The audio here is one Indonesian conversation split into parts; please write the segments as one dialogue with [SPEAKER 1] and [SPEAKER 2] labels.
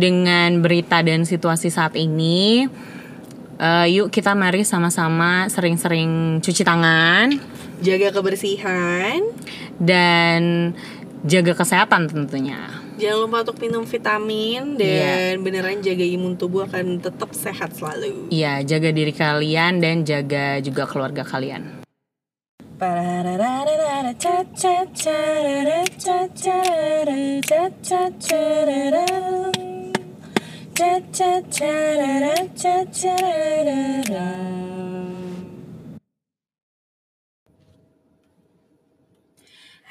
[SPEAKER 1] dengan berita dan situasi saat ini, eh, yuk kita mari sama-sama sering-sering cuci tangan
[SPEAKER 2] Jaga kebersihan.
[SPEAKER 1] dan jaga kesehatan tentunya.
[SPEAKER 2] Jangan lupa untuk minum vitamin
[SPEAKER 1] Iya.
[SPEAKER 2] dan beneran jaga imun tubuh akan tetap sehat selalu.
[SPEAKER 1] Iya, jaga diri kalian dan jaga juga keluarga kalian.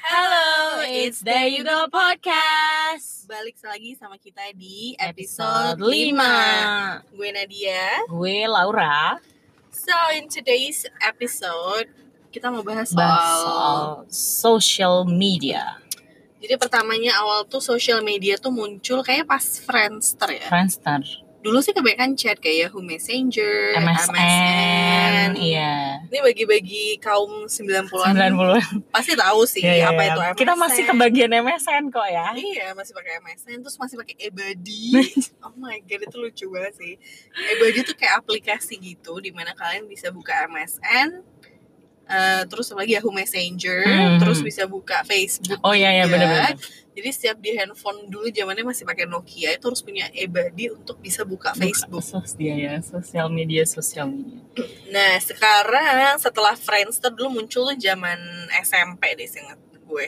[SPEAKER 2] Hello,
[SPEAKER 1] It's There You Go Podcast
[SPEAKER 2] Balik lagi sama kita di
[SPEAKER 1] Episode
[SPEAKER 2] episode
[SPEAKER 1] 5
[SPEAKER 2] 5. Gue Nadia.
[SPEAKER 1] Gue Laura
[SPEAKER 2] So, in today's episode, kita mau bahas soal
[SPEAKER 1] Bahas soal social media
[SPEAKER 2] Jadi pertamanya awal tuh social media tuh muncul kayak pas Friendster ya.
[SPEAKER 1] Friendster,
[SPEAKER 2] Dulu sih kebanyakan chat kayak Yahoo Messenger,
[SPEAKER 1] MSN, Iya
[SPEAKER 2] Ini bagi-bagi kaum 90-an
[SPEAKER 1] 90
[SPEAKER 2] pasti tahu sih
[SPEAKER 1] Iya, iya,
[SPEAKER 2] apa
[SPEAKER 1] iya.
[SPEAKER 2] itu MSN.
[SPEAKER 1] Kita masih kebagian MSN kok ya
[SPEAKER 2] Iya, masih pakai MSN terus masih pakai Ebody. oh my god, itu lucu banget sih. Ebody tuh kayak aplikasi gitu di mana kalian bisa buka MSN eh, terus lagi Yahoo Messenger,
[SPEAKER 1] Hmm.
[SPEAKER 2] terus bisa buka Facebook.
[SPEAKER 1] Oh iya iya
[SPEAKER 2] juga.
[SPEAKER 1] bener-bener
[SPEAKER 2] Jadi setiap di handphone dulu zamannya masih pakai Nokia itu harus punya Ebody untuk bisa buka Facebook.
[SPEAKER 1] Sos dia ya, sosial media, sosial media
[SPEAKER 2] Nah, sekarang setelah Friendster dulu muncul tuh zaman SMP deh seingat gue.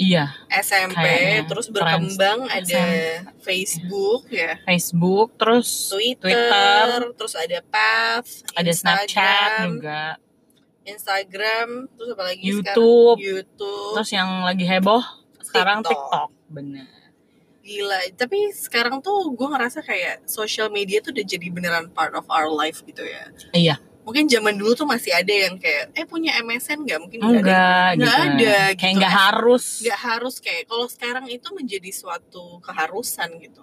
[SPEAKER 1] Iya,
[SPEAKER 2] SMP
[SPEAKER 1] Kayaknya.
[SPEAKER 2] terus berkembang
[SPEAKER 1] Friends-
[SPEAKER 2] ada Facebook ya,
[SPEAKER 1] Facebook, terus
[SPEAKER 2] Twitter,
[SPEAKER 1] Twitter,
[SPEAKER 2] terus ada Path,
[SPEAKER 1] ada Snapchat juga
[SPEAKER 2] Instagram, terus apa lagi sekarang?
[SPEAKER 1] YouTube,
[SPEAKER 2] YouTube,
[SPEAKER 1] terus yang lagi heboh sekarang TikTok, bener
[SPEAKER 2] Gila, tapi sekarang tuh gue ngerasa kayak social media tuh udah jadi beneran part of our life gitu ya.
[SPEAKER 1] Iya.
[SPEAKER 2] Mungkin zaman dulu tuh masih ada yang kayak, eh punya MSN nggak? Mungkin nggak ada.
[SPEAKER 1] enggak
[SPEAKER 2] Nggak
[SPEAKER 1] gitu
[SPEAKER 2] ada,
[SPEAKER 1] kayak
[SPEAKER 2] gitu.
[SPEAKER 1] nggak harus
[SPEAKER 2] Nggak harus kayak, kalau sekarang itu menjadi suatu keharusan gitu.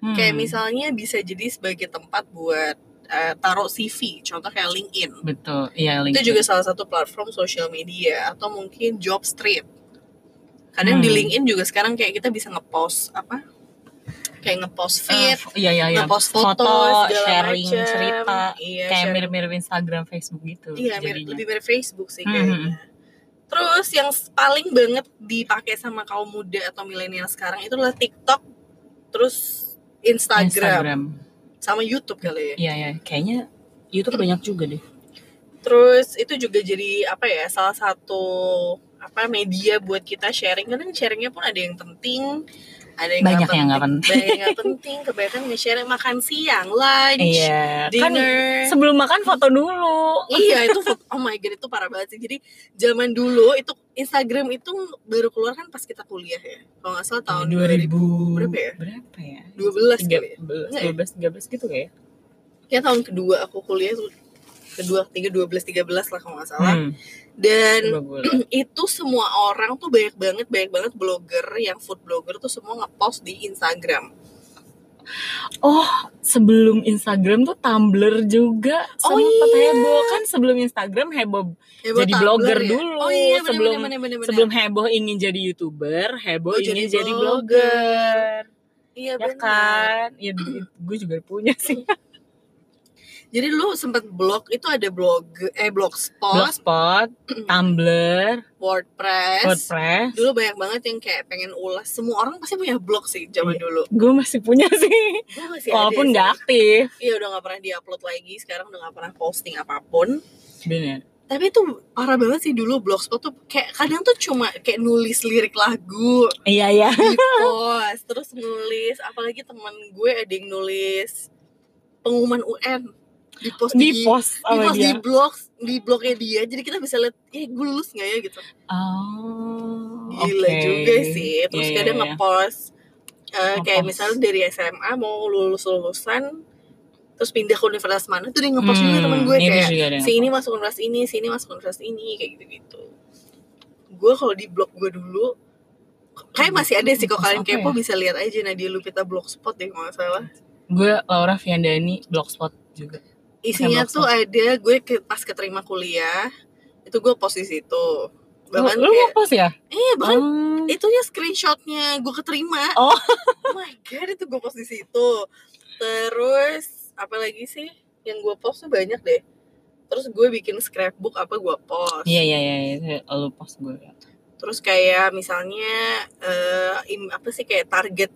[SPEAKER 1] Hmm.
[SPEAKER 2] Kayak misalnya bisa jadi sebagai tempat buat eh, taruh CV, contoh kayak LinkedIn.
[SPEAKER 1] betul iya
[SPEAKER 2] Itu
[SPEAKER 1] LinkedIn.
[SPEAKER 2] juga salah satu platform social media atau mungkin Jobstreet. Kadang di
[SPEAKER 1] Hmm.
[SPEAKER 2] LinkedIn juga sekarang kayak kita bisa ngepost apa? Kayak ngepost
[SPEAKER 1] Eh,
[SPEAKER 2] feed,
[SPEAKER 1] iya iya iya
[SPEAKER 2] ngepost foto, segala
[SPEAKER 1] sharing
[SPEAKER 2] macem.
[SPEAKER 1] cerita
[SPEAKER 2] iya,
[SPEAKER 1] kayak
[SPEAKER 2] sharing.
[SPEAKER 1] mirip-mirip Instagram Facebook gitu
[SPEAKER 2] Iya, mirip-
[SPEAKER 1] jadinya
[SPEAKER 2] lebih mirip Facebook sih
[SPEAKER 1] Mhm.
[SPEAKER 2] kayaknya. Terus yang s- paling banget dipakai sama kaum muda atau milenial sekarang itu adalah TikTok, terus Instagram, sama YouTube kali ya.
[SPEAKER 1] iya iya kayaknya YouTube banyak juga deh
[SPEAKER 2] Terus itu juga jadi apa ya salah satu apa media buat kita sharing kadang sharingnya pun ada yang penting ada yang
[SPEAKER 1] Banyak yang nggak
[SPEAKER 2] ada yang nggak penting kebanyakan nge-share makan siang lunch
[SPEAKER 1] iya kan
[SPEAKER 2] dinner
[SPEAKER 1] sebelum makan foto dulu
[SPEAKER 2] iya itu foto- oh my god itu parah banget sih jadi zaman dulu itu Instagram itu baru keluar kan pas kita kuliah ya kalau nggak salah tahun 2000 berapa ya?
[SPEAKER 1] berapa ya
[SPEAKER 2] 12 kali ya.
[SPEAKER 1] 13
[SPEAKER 2] Nggak ya?
[SPEAKER 1] 12 13 gitu kayak
[SPEAKER 2] Kayaknya tahun kedua aku kuliah tuh kedua tiga dua belas tiga belas lah kalau nggak salah
[SPEAKER 1] Hmm.
[SPEAKER 2] dan itu semua orang tuh banyak banget banyak banget blogger yang food blogger tuh semua ngepost di Instagram.
[SPEAKER 1] Oh, sebelum Instagram tuh Tumblr juga
[SPEAKER 2] Oh
[SPEAKER 1] sempet
[SPEAKER 2] iya.
[SPEAKER 1] heboh kan sebelum Instagram heboh
[SPEAKER 2] Heboh
[SPEAKER 1] Jadi
[SPEAKER 2] Tumblr
[SPEAKER 1] blogger dulu,
[SPEAKER 2] Oh iya bener,
[SPEAKER 1] sebelum-
[SPEAKER 2] bener, bener, bener, bener.
[SPEAKER 1] sebelum heboh ingin jadi youtuber, heboh
[SPEAKER 2] Oh,
[SPEAKER 1] ingin
[SPEAKER 2] jadi
[SPEAKER 1] jadi blogger,
[SPEAKER 2] blogger. iya
[SPEAKER 1] ya
[SPEAKER 2] bener.
[SPEAKER 1] kan? Ya, gue juga punya sih
[SPEAKER 2] Jadi lu sempet blog itu ada blog eh blogspot,
[SPEAKER 1] blogspot, Tumblr,
[SPEAKER 2] WordPress.
[SPEAKER 1] WordPress.
[SPEAKER 2] Dulu banyak banget yang kayak pengen ulas. Semua orang pasti punya blog sih zaman dulu.
[SPEAKER 1] Gue masih punya sih,
[SPEAKER 2] Gua masih ada
[SPEAKER 1] Iya. walaupun
[SPEAKER 2] sih.
[SPEAKER 1] nggak aktif.
[SPEAKER 2] Iya udah nggak pernah diupload lagi. Sekarang udah nggak pernah posting apapun. Iya.
[SPEAKER 1] Bener.
[SPEAKER 2] Tapi itu parah banget sih dulu blogspot tuh kayak kadang tuh cuma kayak nulis lirik lagu.
[SPEAKER 1] Iya ya.
[SPEAKER 2] post terus nulis apalagi teman gue ada yang nulis pengumuman UN di post
[SPEAKER 1] Di post
[SPEAKER 2] di
[SPEAKER 1] sama
[SPEAKER 2] post di
[SPEAKER 1] dia.
[SPEAKER 2] blog di blognya dia jadi kita bisa lihat eh gue lulus nggak ya gitu
[SPEAKER 1] Oh,
[SPEAKER 2] gila
[SPEAKER 1] oke.
[SPEAKER 2] juga sih terus
[SPEAKER 1] Iya,
[SPEAKER 2] kadang
[SPEAKER 1] iya, iya.
[SPEAKER 2] ngepost eh, kayak
[SPEAKER 1] Ngepost.
[SPEAKER 2] misalnya dari SMA mau lulus lulusan terus pindah ke universitas mana tuh dia ngepost juga
[SPEAKER 1] Hmm,
[SPEAKER 2] temen gue
[SPEAKER 1] itu
[SPEAKER 2] kayak
[SPEAKER 1] juga ada yang
[SPEAKER 2] si ini masuk universitas ini si ini masuk universitas ini kayak gitu gitu gue kalau di blog gue dulu kayak masih ada sih kalau kalian
[SPEAKER 1] Apa ya?
[SPEAKER 2] kepo bisa lihat aja Nadia Lupita blogspot deh kalau nggak salah
[SPEAKER 1] Gue Laura Fiandani, blogspot juga.
[SPEAKER 2] isinya
[SPEAKER 1] Kayak
[SPEAKER 2] tuh ada gue ke, pas keterima kuliah itu gue post di situ
[SPEAKER 1] Lu,
[SPEAKER 2] bahkan
[SPEAKER 1] lu
[SPEAKER 2] kayak
[SPEAKER 1] ngepost ya?
[SPEAKER 2] eh bahkan
[SPEAKER 1] Oh.
[SPEAKER 2] itunya screenshotnya gue keterima
[SPEAKER 1] Oh.
[SPEAKER 2] oh my god itu gue post di situ terus apa lagi sih yang gue post tuh banyak deh terus gue bikin scrapbook apa gue post
[SPEAKER 1] Iya iya iya, iya. lu post gue. liat.
[SPEAKER 2] terus kayak misalnya eh im- apa sih kayak target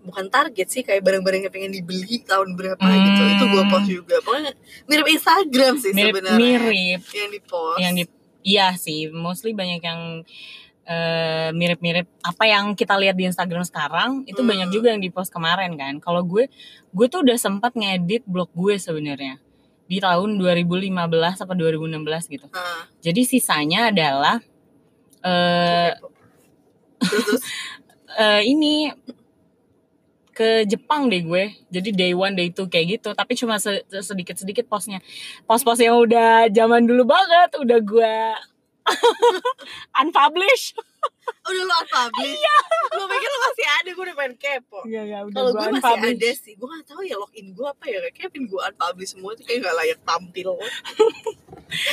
[SPEAKER 2] bukan target sih kayak barang-barang yang pengen dibeli tahun berapa
[SPEAKER 1] Hmm.
[SPEAKER 2] gitu itu gue post juga pokoknya mirip Instagram sih
[SPEAKER 1] Mirip
[SPEAKER 2] sebenarnya
[SPEAKER 1] mirip
[SPEAKER 2] yang di post
[SPEAKER 1] yang di iya sih, mostly banyak yang eh, mirip-mirip apa yang kita lihat di Instagram sekarang itu
[SPEAKER 2] Hmm.
[SPEAKER 1] banyak juga yang di post kemarin kan. Kalau gue gue tuh udah sempat ngedit blog gue sebenarnya di tahun 2015 apa 2016 gitu.
[SPEAKER 2] Ah,
[SPEAKER 1] Jadi sisanya adalah eh
[SPEAKER 2] terus, terus
[SPEAKER 1] eh, ini ke Jepang deh gue. Jadi day one, day two kayak gitu. Tapi cuma se- sedikit-sedikit posnya. Pos-pos yang udah zaman dulu banget. Udah gue unpublish.
[SPEAKER 2] udah lo unpublish lo pikir lo masih ada gue udah main kepo
[SPEAKER 1] Iya, iya. Udah
[SPEAKER 2] kalau
[SPEAKER 1] gue
[SPEAKER 2] gue masih
[SPEAKER 1] unpublish.
[SPEAKER 2] ada sih gue gak tahu ya login gue apa ya kayak pin gue unpublish semua itu kayak gak layak tampil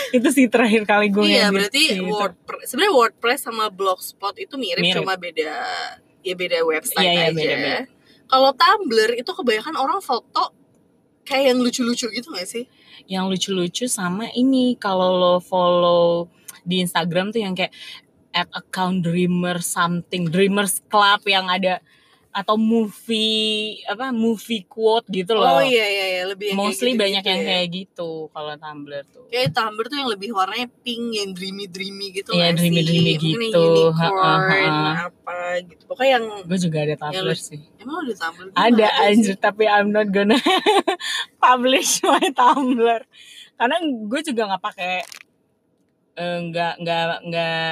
[SPEAKER 1] Itu sih terakhir kali gue ngedit
[SPEAKER 2] iya berarti
[SPEAKER 1] sih itu.
[SPEAKER 2] WordPress sebenarnya WordPress sama Blogspot itu mirip,
[SPEAKER 1] Mirip.
[SPEAKER 2] cuma beda ya beda website
[SPEAKER 1] Iya, iya,
[SPEAKER 2] aja.
[SPEAKER 1] beda-beda.
[SPEAKER 2] Kalau Tumblr itu kebanyakan orang foto kayak yang lucu-lucu gitu gak sih?
[SPEAKER 1] Yang lucu-lucu sama ini. Kalau lo follow di Instagram tuh yang kayak at account dreamer something dreamers club yang ada atau movie apa movie quote gitu loh
[SPEAKER 2] Oh iya iya, iya. lebih yang kayak
[SPEAKER 1] mostly
[SPEAKER 2] gitu-gitu
[SPEAKER 1] banyak yang
[SPEAKER 2] ya.
[SPEAKER 1] kayak gitu kalau Tumblr tuh.
[SPEAKER 2] kayak Tumblr tuh yang lebih warnanya pink, yang dreamy dreamy gitu
[SPEAKER 1] Iya,
[SPEAKER 2] nggak sih?
[SPEAKER 1] dreamy-dreamy
[SPEAKER 2] Mungkin yang
[SPEAKER 1] gitu.
[SPEAKER 2] unicorn,
[SPEAKER 1] Ha, ha,
[SPEAKER 2] apa gitu. Pokoknya yang Iya,
[SPEAKER 1] Gue juga ada Tumblr sih.
[SPEAKER 2] emang udah Tumblr. Gua
[SPEAKER 1] Ada
[SPEAKER 2] nggak tahu sih.
[SPEAKER 1] anjir tapi I'm not gonna publish my Tumblr. Karena gue juga nggak pakai eh, nggak nggak nggak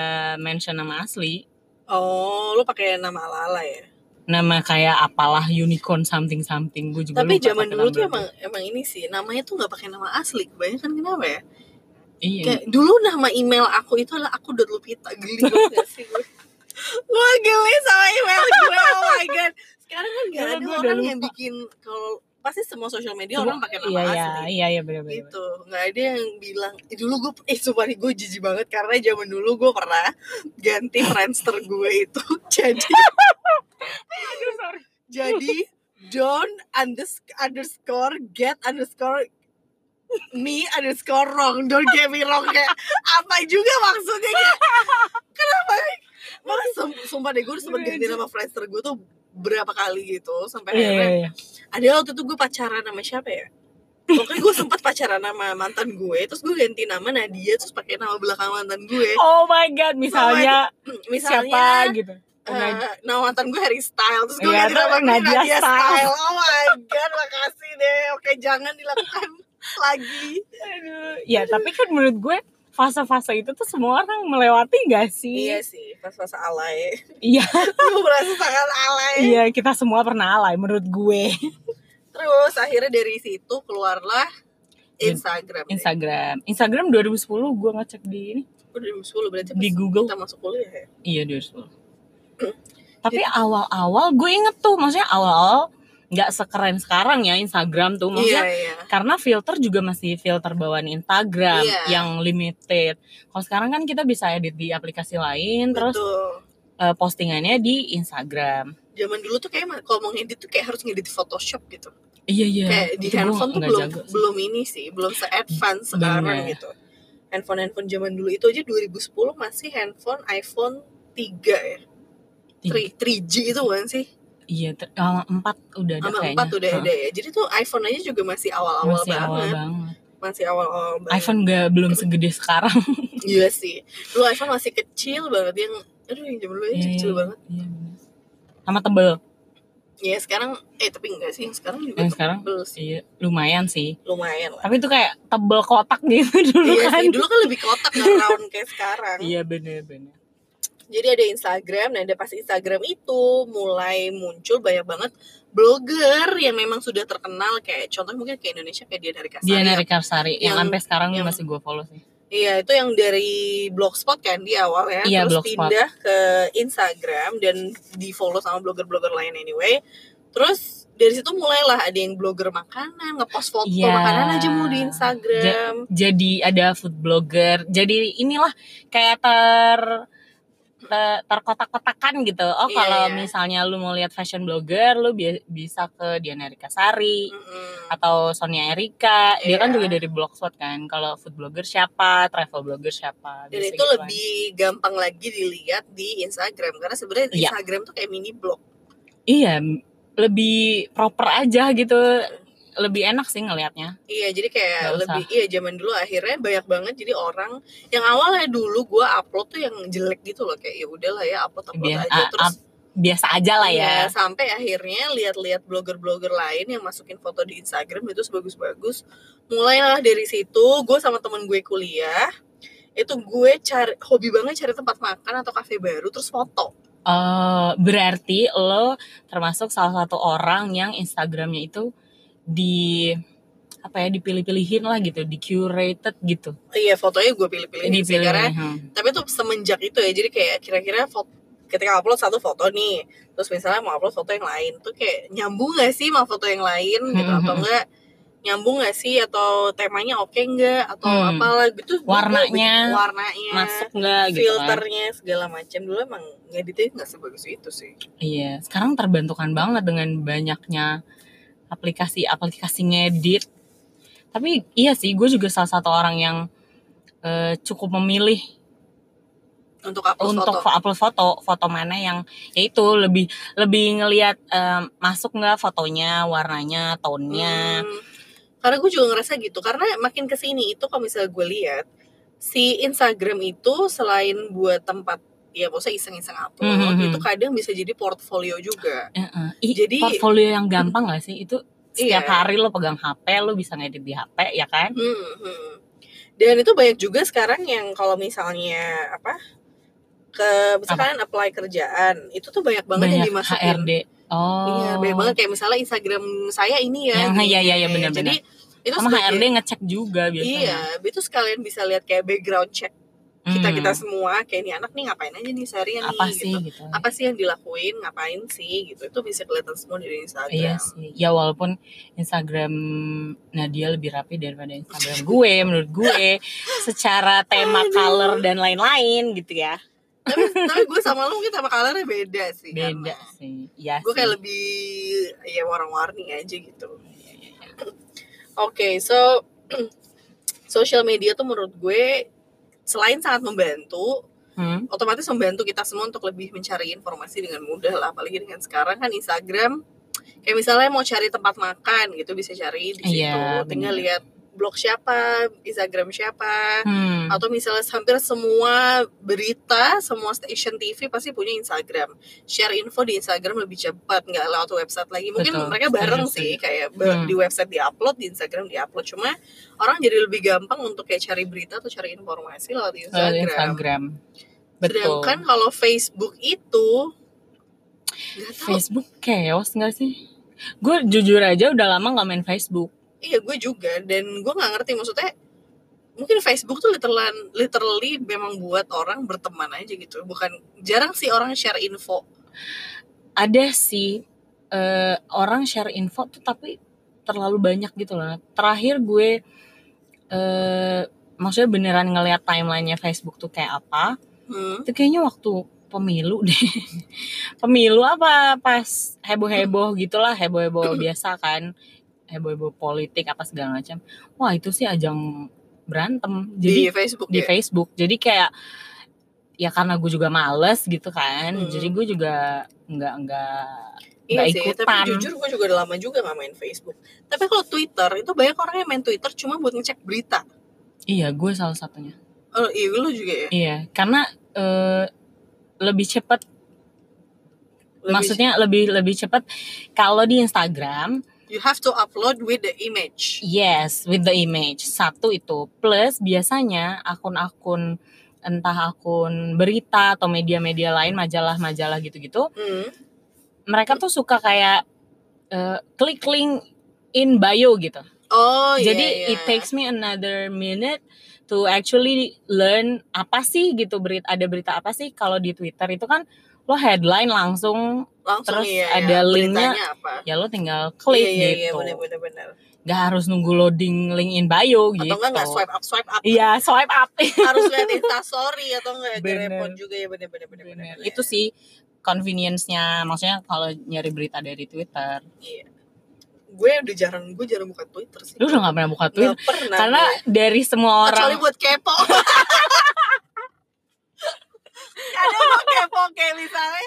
[SPEAKER 1] mention nama asli
[SPEAKER 2] Oh, lu pakai nama ala-ala ya.
[SPEAKER 1] nama kayak apalah unicorn something something gue juga
[SPEAKER 2] Tapi
[SPEAKER 1] lupa
[SPEAKER 2] zaman
[SPEAKER 1] pakai
[SPEAKER 2] dulu
[SPEAKER 1] Tumblr
[SPEAKER 2] tuh emang emang ini sih namanya tuh nggak pakai nama asli kebanyakan kenapa ya?
[SPEAKER 1] iya
[SPEAKER 2] Kayak dulu nama email aku itu adalah aku dot lupita geli banget gak sih gue? gue geli sama email gue oh my god sekarang kan
[SPEAKER 1] Dulu
[SPEAKER 2] gak ada
[SPEAKER 1] gue udah
[SPEAKER 2] orang yang
[SPEAKER 1] lupa.
[SPEAKER 2] bikin kalau pasti semua sosial media
[SPEAKER 1] Semua-
[SPEAKER 2] orang pakai nama
[SPEAKER 1] iya iya
[SPEAKER 2] asli
[SPEAKER 1] iya iya benar benar
[SPEAKER 2] gitu nggak ada yang bilang "Ih, dulu gue eh sumpah nih, gue jijik banget karena zaman dulu gue pernah ganti friendster gue itu jadi Gitu,
[SPEAKER 1] Iya,
[SPEAKER 2] jadi don unders- underscore get underscore me underscore wrong don't get me wrong kayak apa juga maksudnya kayak kenapa malah sum- sumpah deh gue sempet ganti nama friendster gue tuh berapa kali gitu sampai
[SPEAKER 1] iya
[SPEAKER 2] akhirnya
[SPEAKER 1] iya iya
[SPEAKER 2] ada waktu itu gue pacaran sama siapa ya pokoknya gue sempat pacaran sama mantan gue terus gue ganti nama Nadia terus pakai nama belakang mantan gue
[SPEAKER 1] oh my god misalnya, Oh, siapa
[SPEAKER 2] misalnya
[SPEAKER 1] gitu
[SPEAKER 2] eh,
[SPEAKER 1] Oh my God.
[SPEAKER 2] nama mantan gue Harry Style terus gue
[SPEAKER 1] Iya,
[SPEAKER 2] ganti
[SPEAKER 1] terus
[SPEAKER 2] nama gue Nadia,
[SPEAKER 1] Nadia
[SPEAKER 2] Style.
[SPEAKER 1] Style.
[SPEAKER 2] oh my god makasih deh oke jangan dilakukan lagi
[SPEAKER 1] Aduh, ya tapi kan menurut gue fase-fase itu tuh semua orang melewati gak sih?
[SPEAKER 2] iya sih pas masa alay
[SPEAKER 1] Iya,
[SPEAKER 2] gue merasa sangat alay
[SPEAKER 1] iya kita semua pernah alay menurut gue.
[SPEAKER 2] terus akhirnya dari situ keluarlah Instagram deh.
[SPEAKER 1] Instagram, Instagram 2010 gue ngecek di ini,
[SPEAKER 2] Gue 2010 berarti
[SPEAKER 1] Di
[SPEAKER 2] pas
[SPEAKER 1] Google.
[SPEAKER 2] kita masuk kuliah ya
[SPEAKER 1] iya 2010. Tapi awal-awal gue inget tuh, maksudnya awal-awal nggak sekeren sekarang ya Instagram tuh,
[SPEAKER 2] iya
[SPEAKER 1] maksudnya
[SPEAKER 2] iya
[SPEAKER 1] karena filter juga masih filter bawaan Instagram
[SPEAKER 2] Iya.
[SPEAKER 1] yang limited. Kalau sekarang kan kita bisa edit di aplikasi lain, terus
[SPEAKER 2] betul
[SPEAKER 1] eh, postingannya di Instagram.
[SPEAKER 2] zaman dulu tuh kayak kalau mau ngedit tuh kayak harus ngedit Photoshop gitu.
[SPEAKER 1] Iya iya.
[SPEAKER 2] kayak di
[SPEAKER 1] Itu gua
[SPEAKER 2] handphone tuh
[SPEAKER 1] nggak
[SPEAKER 2] belum
[SPEAKER 1] jago sih. ya,
[SPEAKER 2] belum ini sih, belum se advance sekarang
[SPEAKER 1] Bener.
[SPEAKER 2] gitu. Handphone-handphone zaman dulu itu aja 2010 masih handphone iPhone 3 ya.
[SPEAKER 1] Tiga.
[SPEAKER 2] 3, 3G itu kan sih?
[SPEAKER 1] Iya, ter- sama empat udah ada
[SPEAKER 2] Sama
[SPEAKER 1] kayaknya.
[SPEAKER 2] 4 udah
[SPEAKER 1] Hah,
[SPEAKER 2] ada ya. Jadi tuh iPhone aja juga masih awal-awal
[SPEAKER 1] masih awal
[SPEAKER 2] banget.
[SPEAKER 1] banget.
[SPEAKER 2] Masih awal-awal banget.
[SPEAKER 1] iPhone gak belum segede sekarang.
[SPEAKER 2] Iya sih. Dulu iPhone masih kecil banget yang aduh yang zaman dulu aja
[SPEAKER 1] Iya,
[SPEAKER 2] kecil
[SPEAKER 1] iya.
[SPEAKER 2] banget.
[SPEAKER 1] Iya, bener. sama tebel.
[SPEAKER 2] Ya sekarang eh tapi enggak sih, yang sekarang juga
[SPEAKER 1] Yang sekarang?
[SPEAKER 2] tebel sih.
[SPEAKER 1] Iya, lumayan sih.
[SPEAKER 2] Lumayan lah.
[SPEAKER 1] Tapi itu kayak tebel kotak gitu dulu
[SPEAKER 2] Iya
[SPEAKER 1] kan.
[SPEAKER 2] sih, dulu kan lebih kotak nggak round kayak sekarang.
[SPEAKER 1] Iya bener-bener.
[SPEAKER 2] Jadi ada Instagram, nah ada pas Instagram itu mulai muncul banyak banget blogger yang memang sudah terkenal kayak contohnya mungkin kayak Indonesia kayak Dian Arika Sari.
[SPEAKER 1] Dia narik Karsari yang,
[SPEAKER 2] Yang-
[SPEAKER 1] sampai sekarang
[SPEAKER 2] yang-
[SPEAKER 1] masih gue follow sih.
[SPEAKER 2] Iya, itu yang dari Blogspot kan di awal ya,
[SPEAKER 1] Iya,
[SPEAKER 2] terus
[SPEAKER 1] Blogspot.
[SPEAKER 2] pindah ke Instagram dan di follow sama blogger-blogger lain anyway. Terus dari situ mulailah ada yang blogger makanan ngepost foto
[SPEAKER 1] Iya.
[SPEAKER 2] makanan aja mulu di Instagram
[SPEAKER 1] jadi ada food blogger jadi inilah kayak ter te- terkotak-kotakan gitu oh
[SPEAKER 2] Iya,
[SPEAKER 1] kalau
[SPEAKER 2] iya.
[SPEAKER 1] misalnya lu mau lihat fashion blogger lu bi- bisa ke Diana Erika Sari
[SPEAKER 2] Mm-mm.
[SPEAKER 1] atau Sonia Erika dia kan
[SPEAKER 2] Iya.
[SPEAKER 1] juga dari blogspot kan kalau food blogger siapa travel blogger siapa
[SPEAKER 2] dan
[SPEAKER 1] Biasa
[SPEAKER 2] itu
[SPEAKER 1] gitu kan.
[SPEAKER 2] lebih gampang lagi dilihat di Instagram karena sebenarnya
[SPEAKER 1] Iya.
[SPEAKER 2] Instagram tuh kayak mini blog
[SPEAKER 1] iya lebih proper aja gitu lebih enak sih ngelihatnya
[SPEAKER 2] Iya, jadi kayak
[SPEAKER 1] Nggak usah.
[SPEAKER 2] lebih iya zaman dulu akhirnya banyak banget jadi orang yang awalnya dulu gua upload tuh yang jelek gitu loh kayak ya udahlah ya upload upload
[SPEAKER 1] Biasa-
[SPEAKER 2] aja
[SPEAKER 1] a-
[SPEAKER 2] terus
[SPEAKER 1] a- biasa aja lah ya
[SPEAKER 2] Iya, sampai akhirnya lihat-lihat blogger-blogger lain yang masukin foto di Instagram itu sebagus-bagus. Mulailah dari situ, gue sama temen gue kuliah, itu gue cari hobi banget cari tempat makan atau kafe baru terus foto.
[SPEAKER 1] Eh, berarti lo termasuk salah satu orang yang Instagramnya itu di apa ya dipilih-pilihin lah gitu, di curated gitu,
[SPEAKER 2] Iya, fotonya gue pilih-pilih sih
[SPEAKER 1] dipilih.
[SPEAKER 2] karena
[SPEAKER 1] hmm.
[SPEAKER 2] tapi tuh semenjak itu ya jadi kayak kira-kira foto ketika upload satu foto nih terus misalnya mau upload foto yang lain tuh kayak nyambung gak sih sama foto yang lain gitu
[SPEAKER 1] Hmm.
[SPEAKER 2] atau enggak nyambung gak sih atau temanya oke nggak atau
[SPEAKER 1] Hmm.
[SPEAKER 2] apalah gitu Gua- gua
[SPEAKER 1] Warnanya
[SPEAKER 2] bikin warnanya
[SPEAKER 1] Masuk nggak gitu kan?
[SPEAKER 2] filternya segala macam dulu emang ngeditnya nggak sebagus itu sih
[SPEAKER 1] Iya, sekarang terbantukan banget dengan banyaknya aplikasi-aplikasi ngedit. Tapi iya sih, gue juga salah satu orang yang eh, cukup memilih
[SPEAKER 2] untuk upload
[SPEAKER 1] untuk
[SPEAKER 2] foto
[SPEAKER 1] upload foto foto mana yang yaitu lebih lebih ngelihat em, masuk nggak fotonya warnanya tone-nya
[SPEAKER 2] Hmm. karena gue juga ngerasa gitu karena makin kesini itu kalau misalnya gue lihat si Instagram itu selain buat tempat ya maksudnya iseng-iseng upload
[SPEAKER 1] Hmm, hmm, hmm.
[SPEAKER 2] itu kadang bisa jadi portfolio juga
[SPEAKER 1] Heeh. Ih,
[SPEAKER 2] Jadi-
[SPEAKER 1] portfolio yang gampang gak sih itu setiap
[SPEAKER 2] Iya.
[SPEAKER 1] hari lo pegang HP lo bisa ngedit di HP ya kan
[SPEAKER 2] Hmm, hmm. Dan itu banyak juga sekarang yang kalau misalnya apa ke misalkan apply kerjaan itu tuh banyak banget yang
[SPEAKER 1] banyak
[SPEAKER 2] dimasukin.
[SPEAKER 1] HRD oh
[SPEAKER 2] Iya, banyak banget kayak misalnya Instagram saya ini ya.
[SPEAKER 1] Yang-
[SPEAKER 2] gini,
[SPEAKER 1] iya, iya, iya,
[SPEAKER 2] gini.
[SPEAKER 1] benar-benar.
[SPEAKER 2] Jadi itu
[SPEAKER 1] sama
[SPEAKER 2] sebagai-
[SPEAKER 1] HRD ngecek juga
[SPEAKER 2] Iya,
[SPEAKER 1] biasanya
[SPEAKER 2] itu sekalian bisa lihat kayak background check
[SPEAKER 1] Hmm,
[SPEAKER 2] kita kita semua kayak ini anak nih ngapain aja nih seharian nih
[SPEAKER 1] apa sih
[SPEAKER 2] gitu.
[SPEAKER 1] gitu
[SPEAKER 2] Apa sih yang dilakuin, ngapain sih gitu. Itu bisa kelihatan semua dari Instagram.
[SPEAKER 1] Iya sih, ya walaupun Instagram Nadia lebih rapi daripada Instagram gue, menurut gue, secara tema color dan lain-lain gitu ya,
[SPEAKER 2] tapi tapi gue sama lu mungkin sama kalernya beda sih.
[SPEAKER 1] beda sih. Iya
[SPEAKER 2] Gue
[SPEAKER 1] sih.
[SPEAKER 2] kayak lebih ya warna-warni aja gitu. Oke, so social media tuh menurut gue selain sangat membantu,
[SPEAKER 1] Hmm?
[SPEAKER 2] otomatis membantu kita semua untuk lebih mencari informasi dengan mudah lah apalagi dengan sekarang kan Instagram kayak misalnya mau cari tempat makan gitu bisa cari di situ
[SPEAKER 1] Iya,
[SPEAKER 2] tinggal
[SPEAKER 1] bener.
[SPEAKER 2] lihat blog siapa Instagram siapa
[SPEAKER 1] Hmm.
[SPEAKER 2] atau misalnya hampir semua berita semua station TV pasti punya Instagram share info di Instagram lebih cepat nggak lewat website lagi mungkin
[SPEAKER 1] Betul,
[SPEAKER 2] mereka bareng
[SPEAKER 1] setuju,
[SPEAKER 2] sih
[SPEAKER 1] setuju.
[SPEAKER 2] kayak ba-
[SPEAKER 1] Hmm.
[SPEAKER 2] di website diupload di Instagram diupload cuma orang jadi lebih gampang untuk kayak cari berita atau cari informasi lewat
[SPEAKER 1] Kalau di Instagram. Betul.
[SPEAKER 2] Sedangkan kalau Facebook itu nggak tahu.
[SPEAKER 1] Facebook chaos gak sih? Gue jujur aja udah lama gak main Facebook.
[SPEAKER 2] Iya, gue juga dan gue nggak ngerti maksudnya. Mungkin Facebook tuh literally, literally memang buat orang berteman aja gitu. Bukan jarang sih orang share info.
[SPEAKER 1] Ada sih eh, orang share info tuh tapi terlalu banyak gitu loh. Terakhir gue eh maksudnya beneran ngelihat timelinenya Facebook tuh kayak apa?
[SPEAKER 2] Hmm.
[SPEAKER 1] Itu kayaknya waktu pemilu deh. pemilu apa pas heboh-heboh gitulah, heboh-heboh biasa kan. Heboh-heboh politik apa segala macam. Wah, itu sih ajang berantem. Jadi
[SPEAKER 2] di Facebook
[SPEAKER 1] di
[SPEAKER 2] ya.
[SPEAKER 1] Facebook. Jadi kayak ya karena gue juga males gitu kan.
[SPEAKER 2] Hmm.
[SPEAKER 1] Jadi gue juga nggak nggak
[SPEAKER 2] Iya
[SPEAKER 1] nggak
[SPEAKER 2] sih, tapi
[SPEAKER 1] ikutan.
[SPEAKER 2] jujur gue juga udah lama juga nggak main Facebook. Tapi kalau Twitter itu banyak orang yang main Twitter cuma buat ngecek berita.
[SPEAKER 1] Iya, gue salah satunya.
[SPEAKER 2] Oh, iya lu juga ya.
[SPEAKER 1] Iya, karena eh, lebih cepat
[SPEAKER 2] Lebih-
[SPEAKER 1] maksudnya lebih lebih cepat kalau di Instagram
[SPEAKER 2] you have to upload with the image.
[SPEAKER 1] yes with the image satu itu plus biasanya akun-akun entah akun berita atau media-media lain majalah-majalah gitu-gitu
[SPEAKER 2] Hmm.
[SPEAKER 1] mereka tuh suka kayak eh, klik link in bio gitu
[SPEAKER 2] Oh iya.
[SPEAKER 1] Jadi
[SPEAKER 2] iya.
[SPEAKER 1] it takes me another minute to actually learn apa sih gitu berita ada berita apa sih kalau di Twitter itu kan lo headline langsung Terus
[SPEAKER 2] langsung iya,
[SPEAKER 1] ada
[SPEAKER 2] iya.
[SPEAKER 1] linknya.
[SPEAKER 2] Beritanya apa
[SPEAKER 1] ya lo tinggal klik
[SPEAKER 2] iya, iya, iya,
[SPEAKER 1] gitu
[SPEAKER 2] bener, bener, bener.
[SPEAKER 1] nggak harus nunggu loading link in bio gitu
[SPEAKER 2] atau enggak nggak swipe up swipe up
[SPEAKER 1] iya swipe up
[SPEAKER 2] harus lihat insta story atau enggak
[SPEAKER 1] Bener.
[SPEAKER 2] repot juga ya bener bener bener, bener.
[SPEAKER 1] itu sih convenience-nya maksudnya kalau nyari berita dari Twitter
[SPEAKER 2] Iya. gue udah jarang gue jarang buka twitter sih
[SPEAKER 1] lu udah nggak pernah buka Twitter
[SPEAKER 2] Nggak pernah
[SPEAKER 1] karena
[SPEAKER 2] gue.
[SPEAKER 1] dari semua orang
[SPEAKER 2] kecuali buat kepo kadang gue kepo kayak misalnya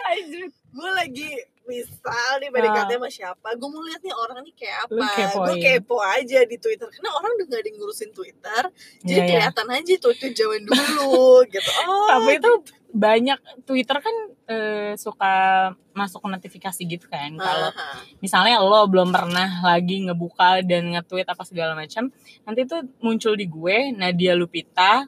[SPEAKER 2] gue lagi misal nih PDKT sama siapa gue mau lihat nih orang nih kayak
[SPEAKER 1] Ah. Lu
[SPEAKER 2] apa gue
[SPEAKER 1] kepoin.
[SPEAKER 2] kepo aja di Twitter karena orang udah gak ada yang ngurusin Twitter jadi
[SPEAKER 1] Iya, iya.
[SPEAKER 2] kelihatan aja tuh itu zaman dulu gitu oh
[SPEAKER 1] tapi itu banyak Twitter kan eh, suka masuk notifikasi gitu kan
[SPEAKER 2] Ah.
[SPEAKER 1] kalau
[SPEAKER 2] Aha.
[SPEAKER 1] misalnya lo belum pernah lagi ngebuka dan nge-tweet apa segala macam nanti tuh muncul di gue Nadia Lupita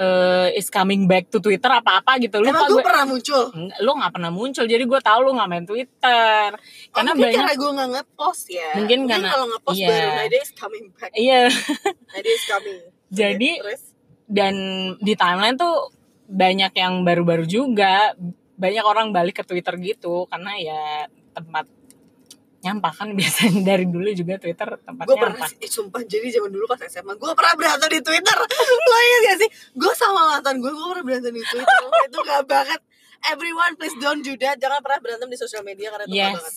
[SPEAKER 1] eh, is coming back to Twitter apa apa gitu lupa
[SPEAKER 2] emang gue
[SPEAKER 1] gue
[SPEAKER 2] pernah muncul Oh,
[SPEAKER 1] Nggak, lo nggak pernah muncul jadi gue tahu lo nggak main Twitter karena
[SPEAKER 2] oh, mungkin
[SPEAKER 1] banyak
[SPEAKER 2] karena gue gak ngepost ya
[SPEAKER 1] Mungkin karena-
[SPEAKER 2] kalau ngepost
[SPEAKER 1] iya.
[SPEAKER 2] baru Nade is coming back
[SPEAKER 1] iya
[SPEAKER 2] Nade is coming
[SPEAKER 1] Jadi,
[SPEAKER 2] Terus?
[SPEAKER 1] dan di timeline tuh banyak yang baru-baru juga banyak orang balik ke Twitter gitu karena ya tempat nyampah kan biasanya dari dulu juga Twitter tempat
[SPEAKER 2] gue pernah
[SPEAKER 1] nyampah
[SPEAKER 2] sih, eh, sumpah jadi zaman dulu pas SMA gue pernah berantem di Twitter lo ingat gak sih gue sama mantan gue gue pernah berantem di Twitter Lo itu gak banget everyone please don't do that jangan pernah berantem di sosial media karena itu nggak
[SPEAKER 1] yes
[SPEAKER 2] banget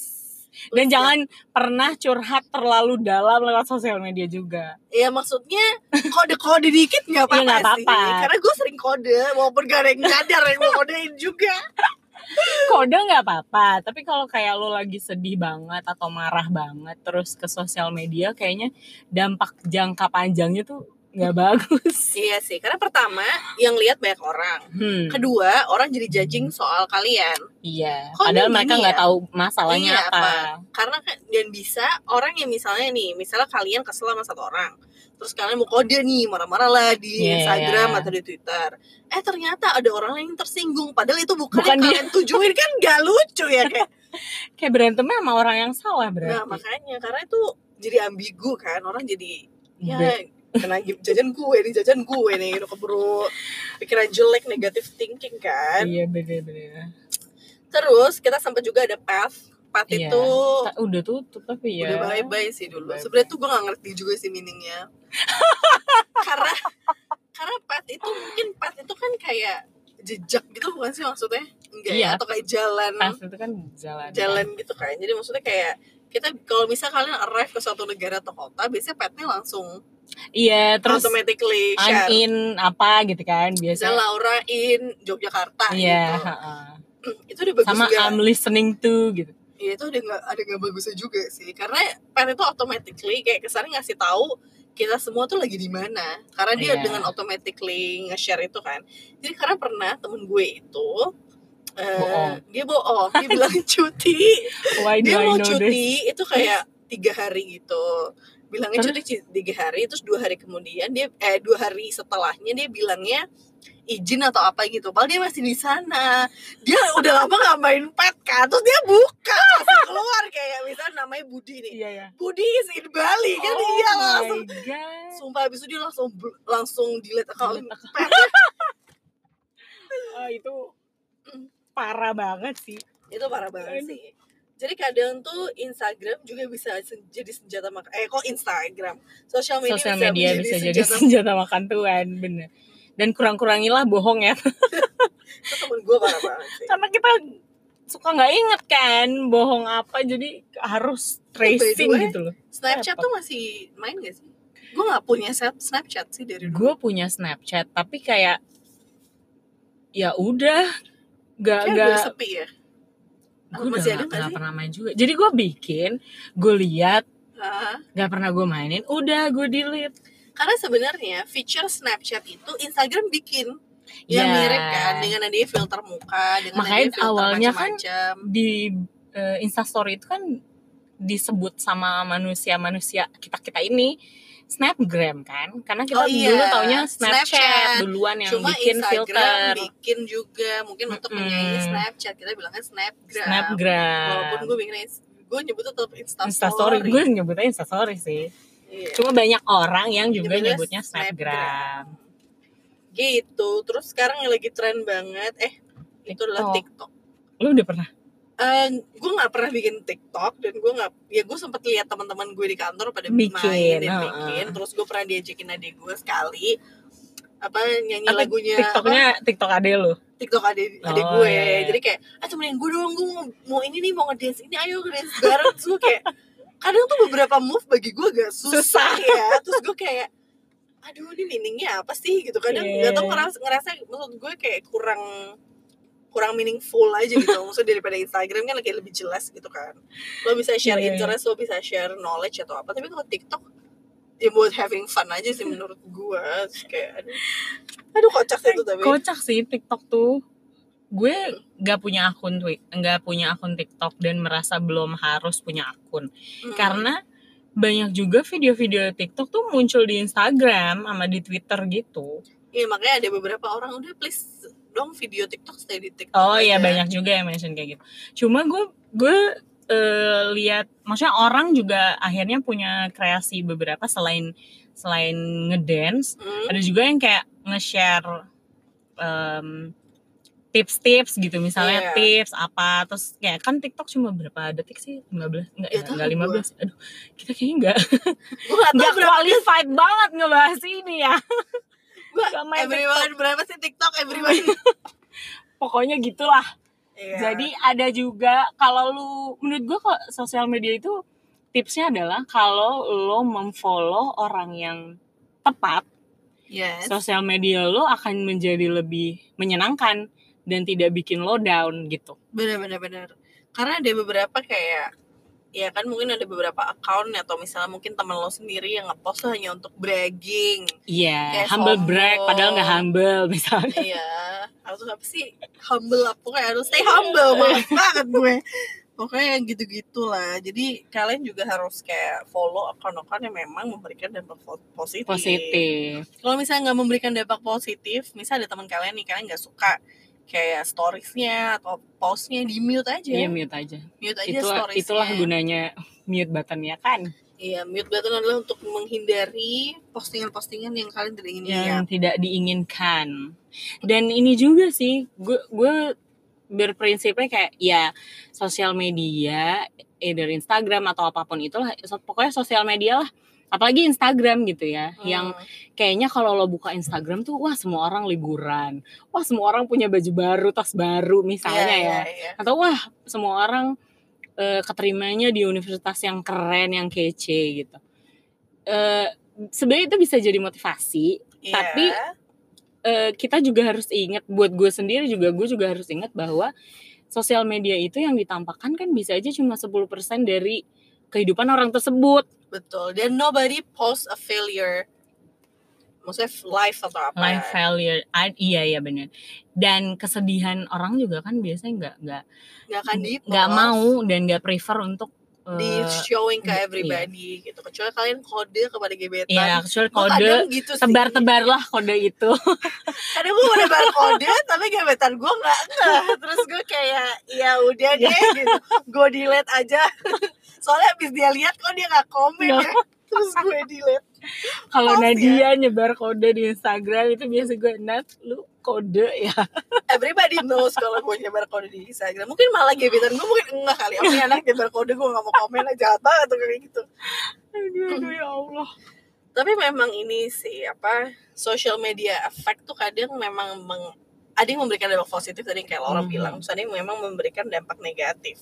[SPEAKER 2] Iya.
[SPEAKER 1] dan jangan pernah curhat terlalu dalam lewat sosial media juga
[SPEAKER 2] Iya maksudnya kode-kode dikit gak
[SPEAKER 1] Iya,
[SPEAKER 2] apa-apa,
[SPEAKER 1] nggak
[SPEAKER 2] sih
[SPEAKER 1] apa-apa.
[SPEAKER 2] Karena gue sering kode Walaupun gak ada yang nyadar yang mau kodein juga
[SPEAKER 1] kode nggak apa-apa tapi kalau kayak lo lagi sedih banget atau marah banget terus ke sosial media kayaknya dampak jangka panjangnya tuh nggak bagus
[SPEAKER 2] Iya sih Karena pertama yang lihat banyak orang
[SPEAKER 1] hmm
[SPEAKER 2] Kedua orang jadi judging soal kalian
[SPEAKER 1] iya
[SPEAKER 2] Kok
[SPEAKER 1] padahal
[SPEAKER 2] ini
[SPEAKER 1] mereka
[SPEAKER 2] gini
[SPEAKER 1] nggak
[SPEAKER 2] ya?
[SPEAKER 1] tahu masalahnya
[SPEAKER 2] Iya,
[SPEAKER 1] apa.
[SPEAKER 2] apa? karena kan- dan bisa orang yang misalnya nih misalnya kalian kesel sama satu orang terus kalian mau kode nih marah-marah lah di
[SPEAKER 1] Iya,
[SPEAKER 2] Instagram
[SPEAKER 1] iya.
[SPEAKER 2] atau di Twitter eh ternyata ada orang lain yang tersinggung padahal itu bukan,
[SPEAKER 1] Bukan
[SPEAKER 2] yang
[SPEAKER 1] dia.
[SPEAKER 2] kalian tujuin kan gak lucu ya kayak
[SPEAKER 1] kayak berantemnya sama orang yang salah
[SPEAKER 2] nah
[SPEAKER 1] berarti.
[SPEAKER 2] makanya karena itu jadi ambigu kan orang jadi ya
[SPEAKER 1] Be-
[SPEAKER 2] kena gi- jajan gue nih jajan gue nih udah keburu pikiran jelek negative thinking kan
[SPEAKER 1] iya bener-bener.
[SPEAKER 2] terus kita sempat juga ada path path
[SPEAKER 1] Iya.
[SPEAKER 2] itu
[SPEAKER 1] Ta- Udah tutup tapi ya.
[SPEAKER 2] Oh. Udah bye-bye sih dulu.
[SPEAKER 1] Bye-bye.
[SPEAKER 2] Sebenarnya tuh gue gak ngerti juga sih meaningnya. karena karena path itu mungkin path itu kan kayak jejak gitu bukan sih maksudnya? Enggak
[SPEAKER 1] Iya.
[SPEAKER 2] ya? Atau kayak jalan
[SPEAKER 1] Pas itu kan jalan.
[SPEAKER 2] jalan gitu kan. Jadi maksudnya kayak kita kalau misal kalian arrive ke suatu negara atau kota, biasanya path-nya langsung
[SPEAKER 1] Iya terus
[SPEAKER 2] automatically
[SPEAKER 1] I'm
[SPEAKER 2] share.
[SPEAKER 1] in apa gitu kan biasa.
[SPEAKER 2] Misalnya Laura in Yogyakarta
[SPEAKER 1] Iya.
[SPEAKER 2] gitu.
[SPEAKER 1] ha-ha.
[SPEAKER 2] Itu udah bagus
[SPEAKER 1] Sama
[SPEAKER 2] juga.
[SPEAKER 1] I'm listening to gitu.
[SPEAKER 2] Iya itu ada nggak ada nggak bagusnya juga sih karena pen itu automatically kayak kesannya ngasih tahu kita semua tuh lagi di mana karena dia
[SPEAKER 1] Iya.
[SPEAKER 2] dengan automatically nge-share itu kan jadi karena pernah temen gue itu eh,
[SPEAKER 1] Bohong.
[SPEAKER 2] dia bohong dia bilang cuti
[SPEAKER 1] Why do
[SPEAKER 2] dia
[SPEAKER 1] Oh, I
[SPEAKER 2] mau
[SPEAKER 1] know this?
[SPEAKER 2] cuti itu kayak tiga hari gitu bilangnya
[SPEAKER 1] Terus?
[SPEAKER 2] cuti ci- tiga hari terus dua hari kemudian dia eh dua hari setelahnya dia bilangnya izin atau apa gitu padahal dia masih di sana dia udah lama nggak main pet kan terus dia buka langsung keluar kayak misalnya namanya Budi nih
[SPEAKER 1] Iya ya.
[SPEAKER 2] Budi is in Bali kan iya
[SPEAKER 1] my
[SPEAKER 2] langsung
[SPEAKER 1] God.
[SPEAKER 2] sumpah abis itu dia langsung bl- langsung delete account
[SPEAKER 1] Delete
[SPEAKER 2] pet
[SPEAKER 1] Ah, itu Mm. parah banget sih.
[SPEAKER 2] itu parah banget
[SPEAKER 1] Aduh.
[SPEAKER 2] sih jadi kadang tuh Instagram juga bisa sen- jadi senjata makan eh kok Instagram sosial media,
[SPEAKER 1] Sosial
[SPEAKER 2] bisa,
[SPEAKER 1] media
[SPEAKER 2] menjadi
[SPEAKER 1] bisa jadi
[SPEAKER 2] senjata
[SPEAKER 1] senjata makan tuan, bener. Dan kurang-kurangilah bohong ya.
[SPEAKER 2] itu temen gue parah banget sih
[SPEAKER 1] karena kita suka nggak inget kan bohong apa jadi harus tracing
[SPEAKER 2] Iya, way,
[SPEAKER 1] gitu loh
[SPEAKER 2] Snapchat
[SPEAKER 1] Apa?
[SPEAKER 2] tuh masih main gak sih gue nggak punya snap Snapchat sih dari dulu
[SPEAKER 1] gue punya Snapchat tapi kayak ya udah nggak
[SPEAKER 2] Kayak
[SPEAKER 1] nggak
[SPEAKER 2] udah sepi ya
[SPEAKER 1] gue udah
[SPEAKER 2] masih
[SPEAKER 1] nggak
[SPEAKER 2] ada nggak
[SPEAKER 1] nggak
[SPEAKER 2] sih?
[SPEAKER 1] pernah main juga jadi gue bikin gue lihat
[SPEAKER 2] Hah?
[SPEAKER 1] nggak pernah gue mainin udah gue delete
[SPEAKER 2] karena sebenarnya feature Snapchat itu Instagram bikin
[SPEAKER 1] Ya.
[SPEAKER 2] ya mirip kan dengan adanya filter muka dengan
[SPEAKER 1] Makanya
[SPEAKER 2] adanya filter
[SPEAKER 1] awalnya kan-
[SPEAKER 2] macam-macam.
[SPEAKER 1] di eh, Instastory itu kan disebut sama manusia-manusia kita kita ini snapgram kan karena kita
[SPEAKER 2] Oh, iya.
[SPEAKER 1] dulu taunya Snapchat,
[SPEAKER 2] Snapchat.
[SPEAKER 1] duluan yang
[SPEAKER 2] Cuma
[SPEAKER 1] bikin
[SPEAKER 2] Instagram
[SPEAKER 1] filter
[SPEAKER 2] bikin juga mungkin untuk
[SPEAKER 1] Mm-mm.
[SPEAKER 2] menyaingi Snapchat kita bilangnya Snapgram.
[SPEAKER 1] Snapgram.
[SPEAKER 2] Walaupun gue bikinnya gue nyebutnya tetap Instastory.
[SPEAKER 1] Instastory, gue nyebutnya Instastory sih.
[SPEAKER 2] Iya.
[SPEAKER 1] Cuma banyak orang yang juga
[SPEAKER 2] Nyebutnya
[SPEAKER 1] nyebutnya Snapgram.
[SPEAKER 2] Gitu. Terus sekarang yang lagi tren banget eh itu adalah TikTok.
[SPEAKER 1] Lu Lu udah pernah?
[SPEAKER 2] Eh, gue nggak pernah bikin TikTok dan gue nggak ya gue sempet lihat teman-teman gue di kantor pada
[SPEAKER 1] Bikin,
[SPEAKER 2] main dan
[SPEAKER 1] heeh.
[SPEAKER 2] bikin terus gue pernah diajakin adik gue sekali apa nyanyi
[SPEAKER 1] Apa
[SPEAKER 2] lagunya apa,
[SPEAKER 1] TikToknya TikTok ade lu.
[SPEAKER 2] TikTok adik adik
[SPEAKER 1] Oh,
[SPEAKER 2] gue
[SPEAKER 1] iya, iya.
[SPEAKER 2] jadi kayak ah temenin gue dong gue mau, mau ini nih mau ngedance ini ayo ngedance bareng terus gue kayak kadang tuh beberapa move bagi gue agak susah,
[SPEAKER 1] Susah.
[SPEAKER 2] ya terus gue kayak aduh ini meaningnya apa sih gitu kadang
[SPEAKER 1] Iya.
[SPEAKER 2] nggak tau ngerasa ngerasa maksud gue kayak kurang kurang meaningful aja gitu maksudnya daripada Instagram kan kayak lebih jelas gitu kan lo bisa share
[SPEAKER 1] Iya, iya.
[SPEAKER 2] interest lo bisa share knowledge atau apa tapi kalau TikTok ya buat having fun aja sih menurut gue Terus kayak aduh, aduh kocak sih itu tapi
[SPEAKER 1] Kocak sih TikTok tuh. Gue nggak punya akun Twi- nggak punya akun TikTok dan merasa belum harus punya akun.
[SPEAKER 2] Hmm.
[SPEAKER 1] karena banyak juga video-video TikTok tuh muncul di Instagram sama di Twitter gitu.
[SPEAKER 2] Iya makanya ada beberapa orang udah please dong video TikTok stay di TikTok.
[SPEAKER 1] Oh iya
[SPEAKER 2] aja."
[SPEAKER 1] banyak juga yang mention kayak gitu. Cuma gue gue eh, lihat maksudnya orang juga akhirnya punya kreasi beberapa selain selain ngedance,
[SPEAKER 2] Hmm,
[SPEAKER 1] ada juga yang kayak nge-share em, tips-tips gitu misalnya
[SPEAKER 2] Iya.
[SPEAKER 1] tips apa terus kayak kan TikTok cuma berapa detik sih 15 enggak
[SPEAKER 2] Nggak
[SPEAKER 1] ya,
[SPEAKER 2] tahu
[SPEAKER 1] enggak
[SPEAKER 2] gue.
[SPEAKER 1] 15 aduh kita kayaknya enggak
[SPEAKER 2] Gue gak tau
[SPEAKER 1] nggak
[SPEAKER 2] berapa
[SPEAKER 1] qualified banget ngebahas ini ya
[SPEAKER 2] Gua
[SPEAKER 1] Nggak main
[SPEAKER 2] everyone berapa sih TikTok everyone.
[SPEAKER 1] pokoknya gitulah
[SPEAKER 2] Iya.
[SPEAKER 1] jadi ada juga kalau lu menurut gua kok sosial media itu tipsnya adalah kalau lo memfollow orang yang tepat
[SPEAKER 2] yes.
[SPEAKER 1] sosial media lo akan menjadi lebih menyenangkan dan tidak bikin lo down gitu
[SPEAKER 2] bener bener bener. Karena ada beberapa kayak ya kan mungkin ada beberapa account atau misalnya mungkin temen lo sendiri yang ngepost tuh hanya untuk bragging.
[SPEAKER 1] iya
[SPEAKER 2] Kayak
[SPEAKER 1] humble
[SPEAKER 2] sombong.
[SPEAKER 1] brag padahal nggak humble misalnya
[SPEAKER 2] Iya, harus apa sih? Humble lah, pokoknya harus stay humble
[SPEAKER 1] Iya.
[SPEAKER 2] Males banget gue. Pokoknya yang gitu-gitu lah. Jadi kalian juga harus kayak follow akun-akun yang memang memberikan dampak po- positif.
[SPEAKER 1] positif
[SPEAKER 2] Kalau misalnya nggak memberikan dampak positif, misalnya ada teman kalian nih kalian nggak suka kayak storiesnya atau postnya di mute aja,
[SPEAKER 1] iya mute aja
[SPEAKER 2] mute aja
[SPEAKER 1] itulah
[SPEAKER 2] storiesnya.
[SPEAKER 1] itulah gunanya mute button ya kan
[SPEAKER 2] Iya, mute button adalah untuk menghindari postingan-postingan yang kalian tidak ingin lihat.
[SPEAKER 1] yang tidak diinginkan. Dan ini juga sih, gue gue berprinsipnya kayak ya sosial media, either Instagram atau apapun itulah, so- pokoknya sosial media lah. Apalagi Instagram gitu ya, yang
[SPEAKER 2] Hmm.
[SPEAKER 1] kayaknya kalau lo buka Instagram tuh wah semua orang liburan, wah semua orang punya baju baru, tas baru misalnya ya
[SPEAKER 2] Iya, iya, iya.
[SPEAKER 1] atau wah semua orang eh, keterimanya di universitas yang keren yang kece gitu Eh, sebenarnya itu bisa jadi motivasi
[SPEAKER 2] Iya.
[SPEAKER 1] Tapi- Eh, kita juga harus ingat buat gue sendiri juga gue juga harus ingat bahwa sosial media itu yang ditampakkan kan bisa aja cuma 10% dari kehidupan orang tersebut
[SPEAKER 2] Betul. Dan nobody post a failure. Maksudnya life atau apa?
[SPEAKER 1] life failure I- iya iya bener dan kesedihan orang juga kan biasanya nggak nggak
[SPEAKER 2] Gak akan Kan di
[SPEAKER 1] nggak mau dan nggak prefer untuk eh,
[SPEAKER 2] di showing ke
[SPEAKER 1] Iya.
[SPEAKER 2] everybody gitu. Kecuali kalian kode kepada gebetan.
[SPEAKER 1] ya actual
[SPEAKER 2] Gua
[SPEAKER 1] kode
[SPEAKER 2] kadang gitu sih.
[SPEAKER 1] tebar-tebarlah kode itu.
[SPEAKER 2] Kadang gue mau nebar kode tapi gebetan gue nggak ngeh. Terus gue kayak ya udah
[SPEAKER 1] Iya.
[SPEAKER 2] deh gitu. Gue delete aja. Soalnya abis dia lihat kok dia nggak komen
[SPEAKER 1] Nggak.
[SPEAKER 2] ya. Terus gue delete.
[SPEAKER 1] Kalau
[SPEAKER 2] Maaf ya.
[SPEAKER 1] Nadia nyebar kode di Instagram itu biasa gue Nat lu kode ya.
[SPEAKER 2] Everybody knows kalau gue nyebar kode di Instagram. Mungkin malah gebetan gue mungkin enggak kali. Apa nih anak nyebar kode gue nggak mau komen aja jahat banget tuh kayak gitu.
[SPEAKER 1] Aduh, aduh, ya Allah.
[SPEAKER 2] tapi memang ini sih apa social media effect tuh kadang memang meng, ada yang memberikan dampak positif tadi yang kayak Laura
[SPEAKER 1] Mhm.
[SPEAKER 2] bilang terus ada yang memang memberikan dampak negatif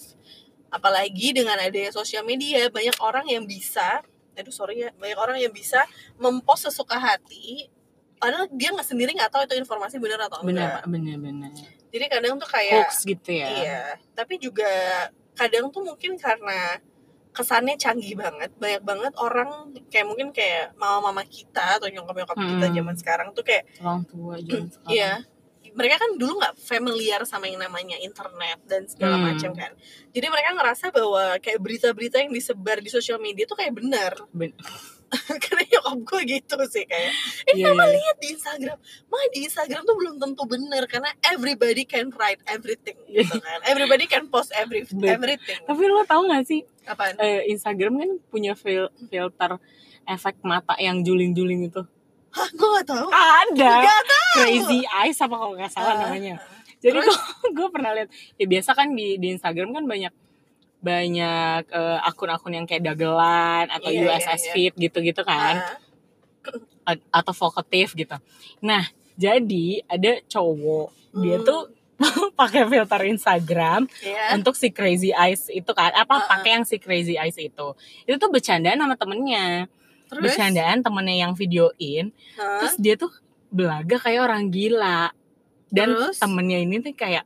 [SPEAKER 2] apalagi dengan adanya sosial media banyak orang yang bisa aduh sorry ya banyak orang yang bisa mempost sesuka hati padahal dia nggak sendiri nggak tahu itu informasi benar atau
[SPEAKER 1] Bener
[SPEAKER 2] enggak
[SPEAKER 1] bener bener.
[SPEAKER 2] jadi kadang tuh kayak
[SPEAKER 1] Hoax gitu ya.
[SPEAKER 2] Iya, tapi juga kadang tuh mungkin karena kesannya canggih banget, banyak banget orang kayak mungkin kayak mama-mama kita atau nyokap-nyokap kita
[SPEAKER 1] Hmm.
[SPEAKER 2] zaman sekarang tuh kayak,
[SPEAKER 1] Orang tua juga sekarang.
[SPEAKER 2] iya, mereka kan dulu nggak familiar sama yang namanya internet dan segala
[SPEAKER 1] Hmm.
[SPEAKER 2] macam kan, jadi mereka ngerasa bahwa kayak berita-berita yang disebar di sosial media tuh kayak benar,
[SPEAKER 1] Ben-
[SPEAKER 2] karena nyokap gue gitu sih kayak,
[SPEAKER 1] Iya, iya.
[SPEAKER 2] lihat di Instagram, mah di Instagram tuh belum tentu benar karena everybody can write everything, gitu kan, everybody can post every
[SPEAKER 1] Bet-
[SPEAKER 2] everything,
[SPEAKER 1] Tapi lo tau gak sih
[SPEAKER 2] apaan?
[SPEAKER 1] eh, Instagram kan punya fil- filter efek mata yang juling-juling itu.
[SPEAKER 2] Hah, gue gak tau.
[SPEAKER 1] Ada.
[SPEAKER 2] Nggak
[SPEAKER 1] Crazy eyes apa kalau nggak salah
[SPEAKER 2] Ah.
[SPEAKER 1] namanya. Jadi gue pernah lihat ya biasa kan di di Instagram kan banyak banyak eh, akun-akun yang kayak dagelan atau
[SPEAKER 2] Iya, iya,
[SPEAKER 1] USS
[SPEAKER 2] iya.
[SPEAKER 1] Fit gitu-gitu kan
[SPEAKER 2] Ah,
[SPEAKER 1] A- atau vokatif gitu. Nah, jadi ada cowok dia
[SPEAKER 2] Hmm.
[SPEAKER 1] tuh pakai filter Instagram
[SPEAKER 2] ya.
[SPEAKER 1] untuk si Crazy Eyes itu kan apa
[SPEAKER 2] Uh-uh.
[SPEAKER 1] pakai yang si Crazy Eyes itu. Itu tuh bercandaan sama temennya.
[SPEAKER 2] Terus?
[SPEAKER 1] Bercandaan temennya yang videoin
[SPEAKER 2] Hah?
[SPEAKER 1] terus dia tuh belaga kayak orang gila dan
[SPEAKER 2] Terus?
[SPEAKER 1] temennya ini tuh kayak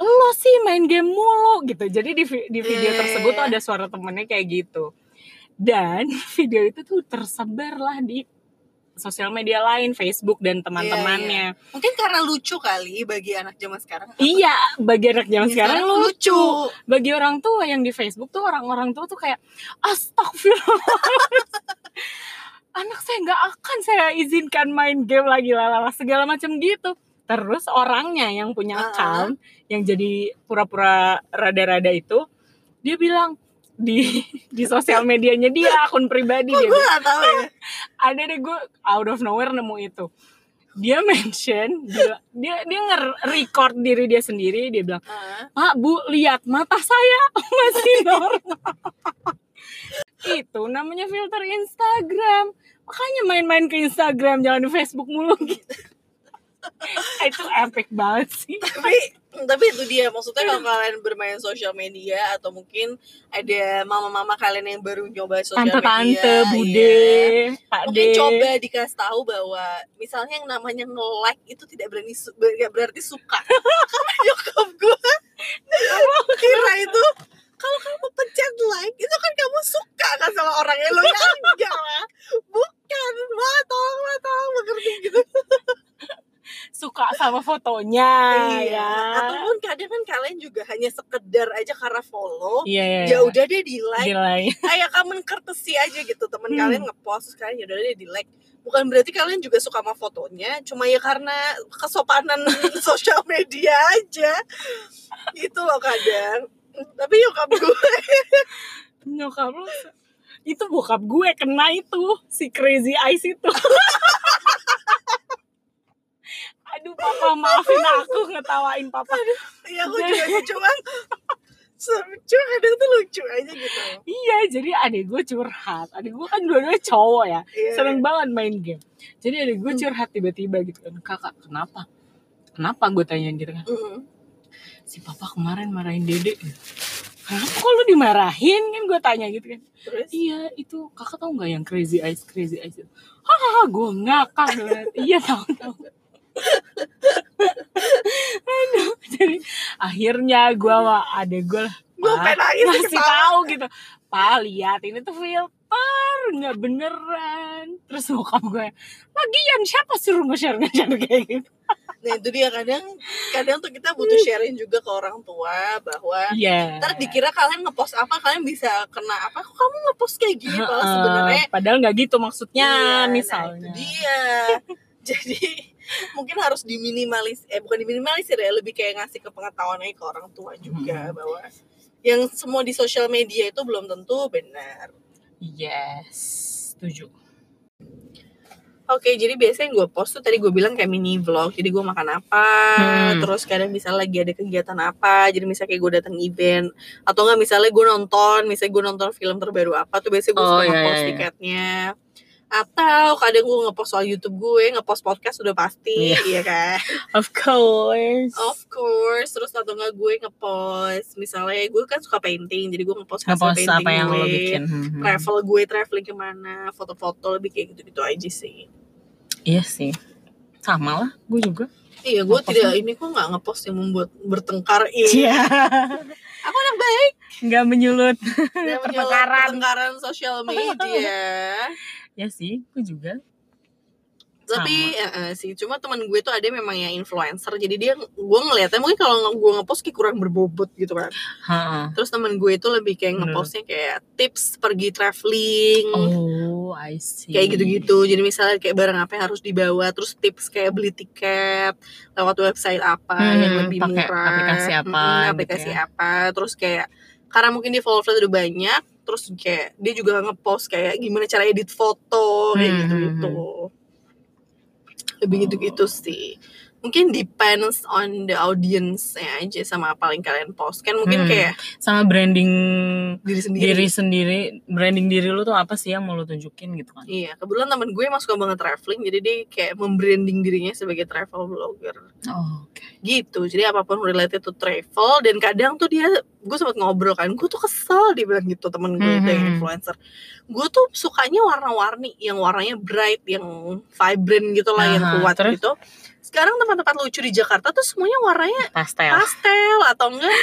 [SPEAKER 1] lo sih main game mulu gitu jadi di, vi- di video
[SPEAKER 2] Iya,
[SPEAKER 1] tersebut
[SPEAKER 2] iya,
[SPEAKER 1] tuh
[SPEAKER 2] iya.
[SPEAKER 1] ada suara temennya kayak gitu dan video itu tuh tersebar lah di sosial media lain Facebook dan teman-temannya
[SPEAKER 2] Mungkin karena lucu kali bagi anak zaman sekarang.
[SPEAKER 1] iya bagi anak zaman
[SPEAKER 2] Ya,
[SPEAKER 1] sekarang lucu. bagi orang tua yang di Facebook tuh orang-orang tua tuh kayak astagfirullah anak saya nggak akan saya izinkan main game lagi lalala segala macam gitu terus orangnya yang punya
[SPEAKER 2] Uh-uh.
[SPEAKER 1] account yang jadi pura-pura rada-rada itu dia bilang di di sosial medianya dia akun pribadi dia
[SPEAKER 2] Gue gak tau ya.
[SPEAKER 1] ada deh gue out of nowhere nemu itu dia mention dia dia, dia nge-record diri dia sendiri dia bilang
[SPEAKER 2] Ah,
[SPEAKER 1] Pak, Bu, lihat mata saya Oh, masih normal. Itu namanya filter Instagram. Makanya main-main ke Instagram, jangan di Facebook mulu gitu. itu epic banget sih.
[SPEAKER 2] tapi tapi itu dia maksudnya kalau kalian bermain sosial media atau mungkin ada mama-mama kalian yang baru nyoba sosial media
[SPEAKER 1] Tante-tante,
[SPEAKER 2] iya.
[SPEAKER 1] Bude, Pak D.
[SPEAKER 2] mungkin coba dikasih tahu bahwa misalnya yang namanya nge-like itu tidak berani su- ber- nggak berarti suka karena nyokap gue kira itu kalau kamu pencet like itu kan kamu suka kan sama orangnya lo ya enggak lah bukan wah tolong lah tolong mengerti gitu
[SPEAKER 1] Suka sama fotonya
[SPEAKER 2] Iya.
[SPEAKER 1] ya.
[SPEAKER 2] ataupun kadang kan kalian juga hanya sekedar aja karena follow
[SPEAKER 1] Iya, iya.
[SPEAKER 2] ya udah deh di like
[SPEAKER 1] Gila.
[SPEAKER 2] kayak kamen kertesi aja gitu teman
[SPEAKER 1] Hmm.
[SPEAKER 2] kalian ngepost terus kalian yaudah deh di like bukan berarti kalian juga suka sama fotonya cuma ya karena kesopanan sosial media aja itu loh kadang tapi nyokap gue
[SPEAKER 1] Nyokap lu itu bokap gue kena itu si crazy eyes itu. Aduh papa maafin aku ngetawain papa.
[SPEAKER 2] ya aku juga cuma cuma kadang tuh lucu aja gitu
[SPEAKER 1] Iya jadi adik gue curhat. Adik gue kan dua-duanya cowok ya.
[SPEAKER 2] Iya. Hmm.
[SPEAKER 1] Seneng banget main game. Jadi adik gue curhat tiba-tiba gitu kan. Kakak kenapa? Kenapa gue tanyain gitu kan.
[SPEAKER 2] Mm.
[SPEAKER 1] Si papa kemarin marahin dede. Kenapa kok lu dimarahin kan gue tanya gitu kan.
[SPEAKER 2] terus
[SPEAKER 1] Iya itu kakak tahu nggak yang crazy eyes crazy eyes itu? Hahaha gue ngakak banget. iya tahu tahu. Aduh, jadi akhirnya gue sama adek gue lah.
[SPEAKER 2] Gua
[SPEAKER 1] "Pa,
[SPEAKER 2] pengen nangis
[SPEAKER 1] Ngasih
[SPEAKER 2] ketawa."
[SPEAKER 1] tahu gitu. Pa lihat ini tuh filter nggak beneran. Terus bokap gue lagian siapa suruh nge-share nge-share kayak gitu?
[SPEAKER 2] nah itu dia kadang kadang tuh kita butuh
[SPEAKER 1] Hmm.
[SPEAKER 2] sharing juga ke orang tua bahwa
[SPEAKER 1] Iya.
[SPEAKER 2] ntar dikira kalian ngepost apa kalian bisa kena apa kok kamu ngepost kayak gini
[SPEAKER 1] Heeh,
[SPEAKER 2] kalau sebenarnya
[SPEAKER 1] padahal nggak gitu maksudnya
[SPEAKER 2] Iya, nah,
[SPEAKER 1] misalnya.
[SPEAKER 2] itu dia jadi mungkin harus diminimalis eh bukan diminimalisir ya lebih kayak ngasih ke pengetahuan aja ke orang tua juga
[SPEAKER 1] Hmm.
[SPEAKER 2] bahwa yang semua di sosial media itu belum tentu benar
[SPEAKER 1] Yes, setuju.
[SPEAKER 2] Oke, jadi biasanya yang gue post tuh tadi gue bilang kayak mini vlog. Jadi gue makan apa,
[SPEAKER 1] Hmm.
[SPEAKER 2] terus kadang misalnya lagi ada kegiatan apa. Jadi misalnya kayak gue datang event atau enggak misalnya gue nonton, misalnya gue nonton film terbaru apa tuh biasanya gue
[SPEAKER 1] Oh,
[SPEAKER 2] suka
[SPEAKER 1] iya,
[SPEAKER 2] ngepost
[SPEAKER 1] iya, iya.
[SPEAKER 2] tiketnya. Atau kadang gue ngepost soal YouTube gue, ngepost podcast udah pasti,
[SPEAKER 1] Iya.
[SPEAKER 2] iya kan?
[SPEAKER 1] Of course.
[SPEAKER 2] Of course, terus atau enggak gue ngepost misalnya gue kan suka painting, jadi gue ngepost hasil
[SPEAKER 1] Ngepost
[SPEAKER 2] painting
[SPEAKER 1] apa yang
[SPEAKER 2] gue.
[SPEAKER 1] lo bikin Hmm.
[SPEAKER 2] Travel gue traveling kemana, foto-foto lebih kayak gitu-gitu aja sih.
[SPEAKER 1] Iya sih Sama lah Gue juga
[SPEAKER 2] Iya, gue
[SPEAKER 1] Ngepost
[SPEAKER 2] tidak ini kok nggak ngepost yang membuat bertengkar ini.
[SPEAKER 1] Iya
[SPEAKER 2] Aku anak baik.
[SPEAKER 1] Nggak menyulut
[SPEAKER 2] Namanya
[SPEAKER 1] Pertengkaran.
[SPEAKER 2] pertengkaran sosial media.
[SPEAKER 1] Ya sih Gue juga
[SPEAKER 2] Tapi eh, eh, sih, cuma teman gue tuh ada yang memang yang influencer. Jadi dia gue ngeliatnya mungkin kalau gue ngepost kayak kurang berbobot gitu kan.
[SPEAKER 1] Ha-ha.
[SPEAKER 2] Terus teman gue itu lebih kayak
[SPEAKER 1] Bener.
[SPEAKER 2] ngepostnya kayak tips pergi traveling.
[SPEAKER 1] Hmm. Oh I see
[SPEAKER 2] Kayak gitu-gitu. Jadi misalnya kayak barang apa yang harus dibawa, terus tips kayak beli tiket lewat website apa
[SPEAKER 1] Hmm,
[SPEAKER 2] yang lebih
[SPEAKER 1] pakai
[SPEAKER 2] murah,
[SPEAKER 1] aplikasi apa
[SPEAKER 2] Mm-mm,
[SPEAKER 1] gitu
[SPEAKER 2] aplikasi
[SPEAKER 1] ya.
[SPEAKER 2] apa, terus kayak karena mungkin di followersnya udah banyak, terus kayak dia juga ngepost kayak gimana cara edit foto kayak
[SPEAKER 1] Hmm,
[SPEAKER 2] gitu-gitu. Lebih
[SPEAKER 1] hmm.
[SPEAKER 2] gitu-gitu sih. mungkin depends on the audience aja sama apa yang kalian post kan
[SPEAKER 1] Hmm.
[SPEAKER 2] mungkin kayak
[SPEAKER 1] sama branding
[SPEAKER 2] diri sendiri
[SPEAKER 1] diri sendiri branding diri lu tuh apa sih yang mau lu tunjukin gitu kan
[SPEAKER 2] iya kebetulan temen gue emang suka banget traveling jadi dia kayak membranding dirinya sebagai travel blogger
[SPEAKER 1] oh, oke
[SPEAKER 2] gitu jadi apapun related to travel dan kadang tuh dia gue sempat ngobrol kan gue tuh kesel dia bilang gitu temen gue itu yang
[SPEAKER 1] Mhm.
[SPEAKER 2] influencer gue tuh sukanya warna-warni yang warnanya bright yang vibrant gitu lah yang
[SPEAKER 1] Aha,
[SPEAKER 2] kuat
[SPEAKER 1] terus?
[SPEAKER 2] gitu sekarang tempat-tempat lucu di Jakarta tuh semuanya warnanya
[SPEAKER 1] pastel
[SPEAKER 2] pastel atau enggak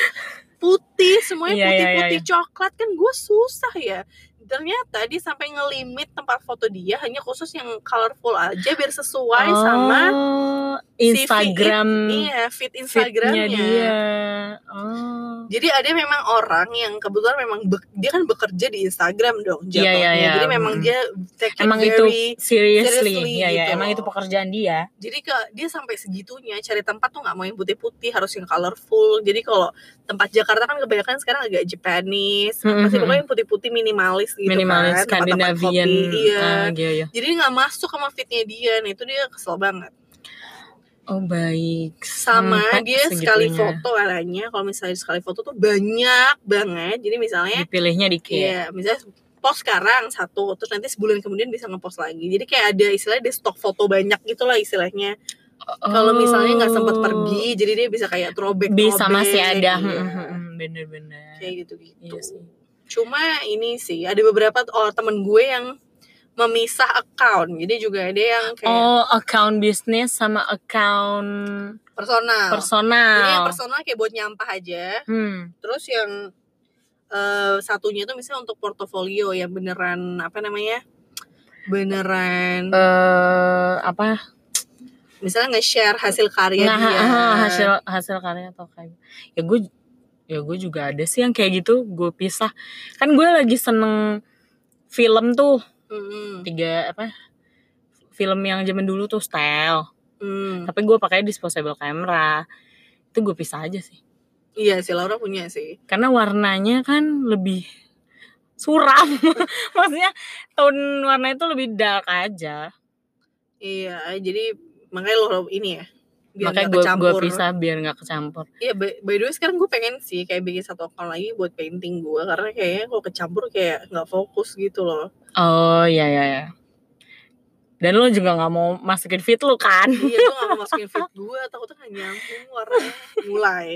[SPEAKER 2] putih semuanya
[SPEAKER 1] Iya, iya,
[SPEAKER 2] putih-putih
[SPEAKER 1] iya,
[SPEAKER 2] coklat kan gue susah ya ternyata dia sampai ngelimit tempat foto dia hanya khusus yang colorful aja biar sesuai
[SPEAKER 1] Oh,
[SPEAKER 2] sama
[SPEAKER 1] Instagram
[SPEAKER 2] iya feed
[SPEAKER 1] feed-nya
[SPEAKER 2] Instagramnya
[SPEAKER 1] dia oh
[SPEAKER 2] Jadi ada memang orang yang kebetulan memang be- dia kan bekerja di Instagram dong
[SPEAKER 1] Iya,
[SPEAKER 2] jatuhnya.
[SPEAKER 1] iya, iya.
[SPEAKER 2] Jadi memang
[SPEAKER 1] Mm.
[SPEAKER 2] dia take it
[SPEAKER 1] emang itu
[SPEAKER 2] very-
[SPEAKER 1] seriously,
[SPEAKER 2] seriously
[SPEAKER 1] ya ya
[SPEAKER 2] gitu
[SPEAKER 1] emang
[SPEAKER 2] loh.
[SPEAKER 1] itu pekerjaan dia
[SPEAKER 2] Jadi ke dia sampai segitunya cari tempat tuh nggak mau yang putih-putih, harus yang colorful. Jadi kalau tempat Jakarta kan kebanyakan sekarang agak Japanese,
[SPEAKER 1] Mm,
[SPEAKER 2] pasti
[SPEAKER 1] mm,
[SPEAKER 2] pokoknya yang putih-putih minimalis gitu
[SPEAKER 1] minimalis
[SPEAKER 2] kan. tempat-tempat
[SPEAKER 1] Scandinavian
[SPEAKER 2] kopi, Iya.
[SPEAKER 1] ah, gitu ya.
[SPEAKER 2] Jadi nggak masuk sama fitnya dia, nah itu dia kesel banget.
[SPEAKER 1] oh baik
[SPEAKER 2] Sama
[SPEAKER 1] Sampai
[SPEAKER 2] dia sekali
[SPEAKER 1] Hmm, segitunya.
[SPEAKER 2] foto arahnya, kalau misalnya sekali foto tuh banyak banget. Jadi misalnya
[SPEAKER 1] dipilihnya dikit
[SPEAKER 2] Iya, misalnya post sekarang satu, terus nanti sebulan kemudian bisa ngepost lagi. Jadi kayak ada istilahnya dia stok foto banyak gitu lah istilahnya. Kalau misalnya nggak sempat
[SPEAKER 1] Oh.
[SPEAKER 2] pergi, jadi dia bisa kayak throwback
[SPEAKER 1] bisa
[SPEAKER 2] throwback,
[SPEAKER 1] masih ada
[SPEAKER 2] iya.
[SPEAKER 1] Hmm, hmm, hmm. bener-bener
[SPEAKER 2] Kayak gitu-gitu.
[SPEAKER 1] Iya sih.
[SPEAKER 2] Cuma ini sih ada beberapa t- oh, temen gue yang memisah account. Jadi juga ada yang kayak
[SPEAKER 1] oh account bisnis sama account
[SPEAKER 2] personal.
[SPEAKER 1] personal Iya,
[SPEAKER 2] Jadi yang personal kayak buat nyampah aja.
[SPEAKER 1] hmm.
[SPEAKER 2] Terus yang eh, satunya tuh misalnya untuk portofolio yang beneran apa namanya? Beneran
[SPEAKER 1] Eh, apa
[SPEAKER 2] misalnya nge-share hasil karya
[SPEAKER 1] nah
[SPEAKER 2] dia
[SPEAKER 1] ah, hasil hasil karya atau kayak ya gue ya gue juga ada sih yang kayak gitu gue pisah kan gue lagi seneng film tuh
[SPEAKER 2] Mm-mm.
[SPEAKER 1] tiga apa film yang zaman dulu tuh style
[SPEAKER 2] Mm.
[SPEAKER 1] tapi gue pakai disposable camera itu gue pisah aja sih
[SPEAKER 2] iya sih Laura punya sih
[SPEAKER 1] karena warnanya kan lebih suram maksudnya tone warna itu lebih dark aja
[SPEAKER 2] iya jadi makanya lo ini ya biar
[SPEAKER 1] makanya
[SPEAKER 2] nggak
[SPEAKER 1] gue gue
[SPEAKER 2] kecampur
[SPEAKER 1] pisah biar nggak kecampur
[SPEAKER 2] iya by, by the way sekarang gue pengen sih kayak bikin satu account lagi buat painting gue karena kayaknya kalau kecampur kayak nggak fokus gitu loh
[SPEAKER 1] oh ya ya ya dan lo juga nggak mau masukin fit lo kan
[SPEAKER 2] iya gue gak mau masukin feed gue takutnya nggak nyambung warnanya mulai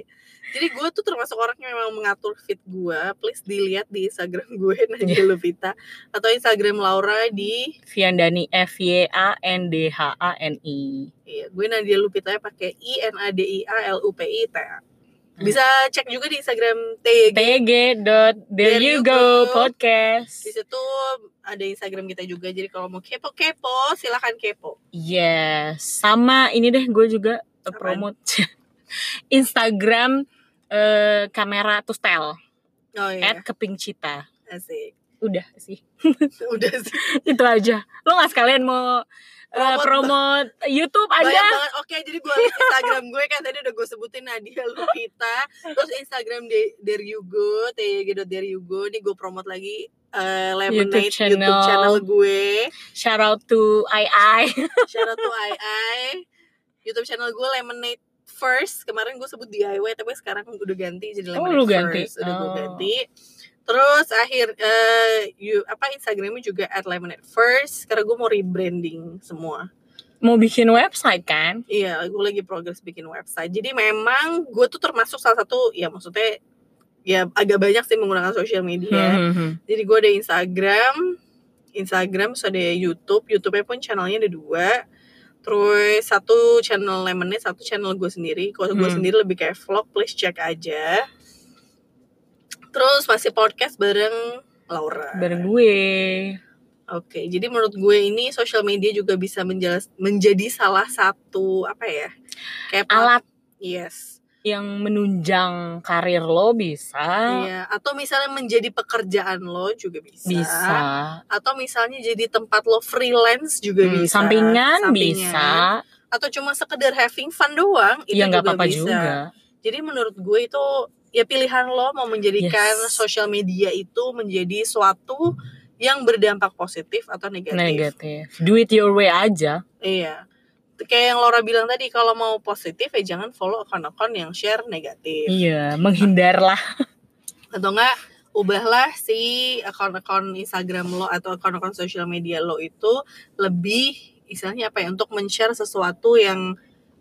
[SPEAKER 2] jadi gue tuh termasuk orang yang memang mengatur feed gue please dilihat di instagram gue Nadia
[SPEAKER 1] Iya.
[SPEAKER 2] Levita atau instagram Laura di
[SPEAKER 1] Fiandani F Y A N D H A N I
[SPEAKER 2] Iya, gue Nadia Lupita pakai I N A D I A L U P I T A.
[SPEAKER 1] Hmm.
[SPEAKER 2] Bisa cek juga di Instagram TG.
[SPEAKER 1] TG dot there you go podcast
[SPEAKER 2] Di situ ada Instagram kita juga. Jadi kalau mau kepo-kepo, silahkan kepo.
[SPEAKER 1] Yes, sama ini deh gue juga eh,
[SPEAKER 2] Apaan?
[SPEAKER 1] promote Instagram eh, kamera to style
[SPEAKER 2] Oh
[SPEAKER 1] at
[SPEAKER 2] iya,
[SPEAKER 1] keping cita.
[SPEAKER 2] asik.
[SPEAKER 1] Udah sih,
[SPEAKER 2] Udah sih.
[SPEAKER 1] itu aja. Lo nggak sekalian mau eh,
[SPEAKER 2] Promote.
[SPEAKER 1] promote YouTube ada?
[SPEAKER 2] Banyak banget. Oke, jadi gue list Instagram gue kan tadi udah gue sebutin Nadia Lupita. Terus Instagram de- There You Go, TG. There You Go. Ini gue promote lagi. eh, Lemonade
[SPEAKER 1] YouTube channel.
[SPEAKER 2] YouTube channel gue.
[SPEAKER 1] Shout out to I I.
[SPEAKER 2] Shout out to II. YouTube channel gue Lemonade First. Kemarin gue sebut DIY tapi sekarang udah ganti jadi
[SPEAKER 1] Oh,
[SPEAKER 2] Lemonade
[SPEAKER 1] lu ganti.
[SPEAKER 2] First. Udah gue
[SPEAKER 1] Oh.
[SPEAKER 2] ganti. Terus akhir eh you- apa Instagramnya juga at Lemonade First karena gue mau rebranding semua.
[SPEAKER 1] Mau bikin website kan?
[SPEAKER 2] Iya, gue lagi progress bikin website. Jadi memang gue tuh termasuk salah satu ya maksudnya ya agak banyak sih menggunakan sosial
[SPEAKER 1] Hmm,
[SPEAKER 2] media.
[SPEAKER 1] hmm, hmm.
[SPEAKER 2] Jadi gue ada Instagram, Instagram terus ada YouTube, YouTube-nya pun channelnya ada dua. Terus satu channel Lemonade, satu channel gue sendiri. Kalau gue
[SPEAKER 1] Hmm.
[SPEAKER 2] sendiri lebih kayak vlog, please cek aja. Terus masih podcast bareng Laura.
[SPEAKER 1] Bareng gue.
[SPEAKER 2] Oke, jadi menurut gue ini social media juga bisa menjelas, menjadi salah satu apa ya? Kayak plat-
[SPEAKER 1] Alat
[SPEAKER 2] Yes.
[SPEAKER 1] yang menunjang karir lo bisa.
[SPEAKER 2] Iya, atau misalnya menjadi pekerjaan lo juga bisa.
[SPEAKER 1] Bisa.
[SPEAKER 2] Atau misalnya jadi tempat lo freelance juga
[SPEAKER 1] Hmm,
[SPEAKER 2] bisa.
[SPEAKER 1] sampingan,
[SPEAKER 2] Sampingan.
[SPEAKER 1] bisa.
[SPEAKER 2] atau cuma sekedar having fun doang itu
[SPEAKER 1] Ya nggak
[SPEAKER 2] juga
[SPEAKER 1] apa-apa
[SPEAKER 2] bisa.
[SPEAKER 1] juga.
[SPEAKER 2] Jadi menurut gue itu ya pilihan lo mau menjadikan
[SPEAKER 1] Yes.
[SPEAKER 2] sosial media itu menjadi suatu yang berdampak positif atau negatif.
[SPEAKER 1] negatif. Do it your way aja.
[SPEAKER 2] Iya. kayak yang Laura bilang tadi kalau mau positif ya jangan follow akun-akun yang share negatif
[SPEAKER 1] Iya, menghindarlah.
[SPEAKER 2] atau enggak ubahlah si akun-akun Instagram lo atau akun-akun sosial media lo itu lebih istilahnya apa ya untuk men-share sesuatu yang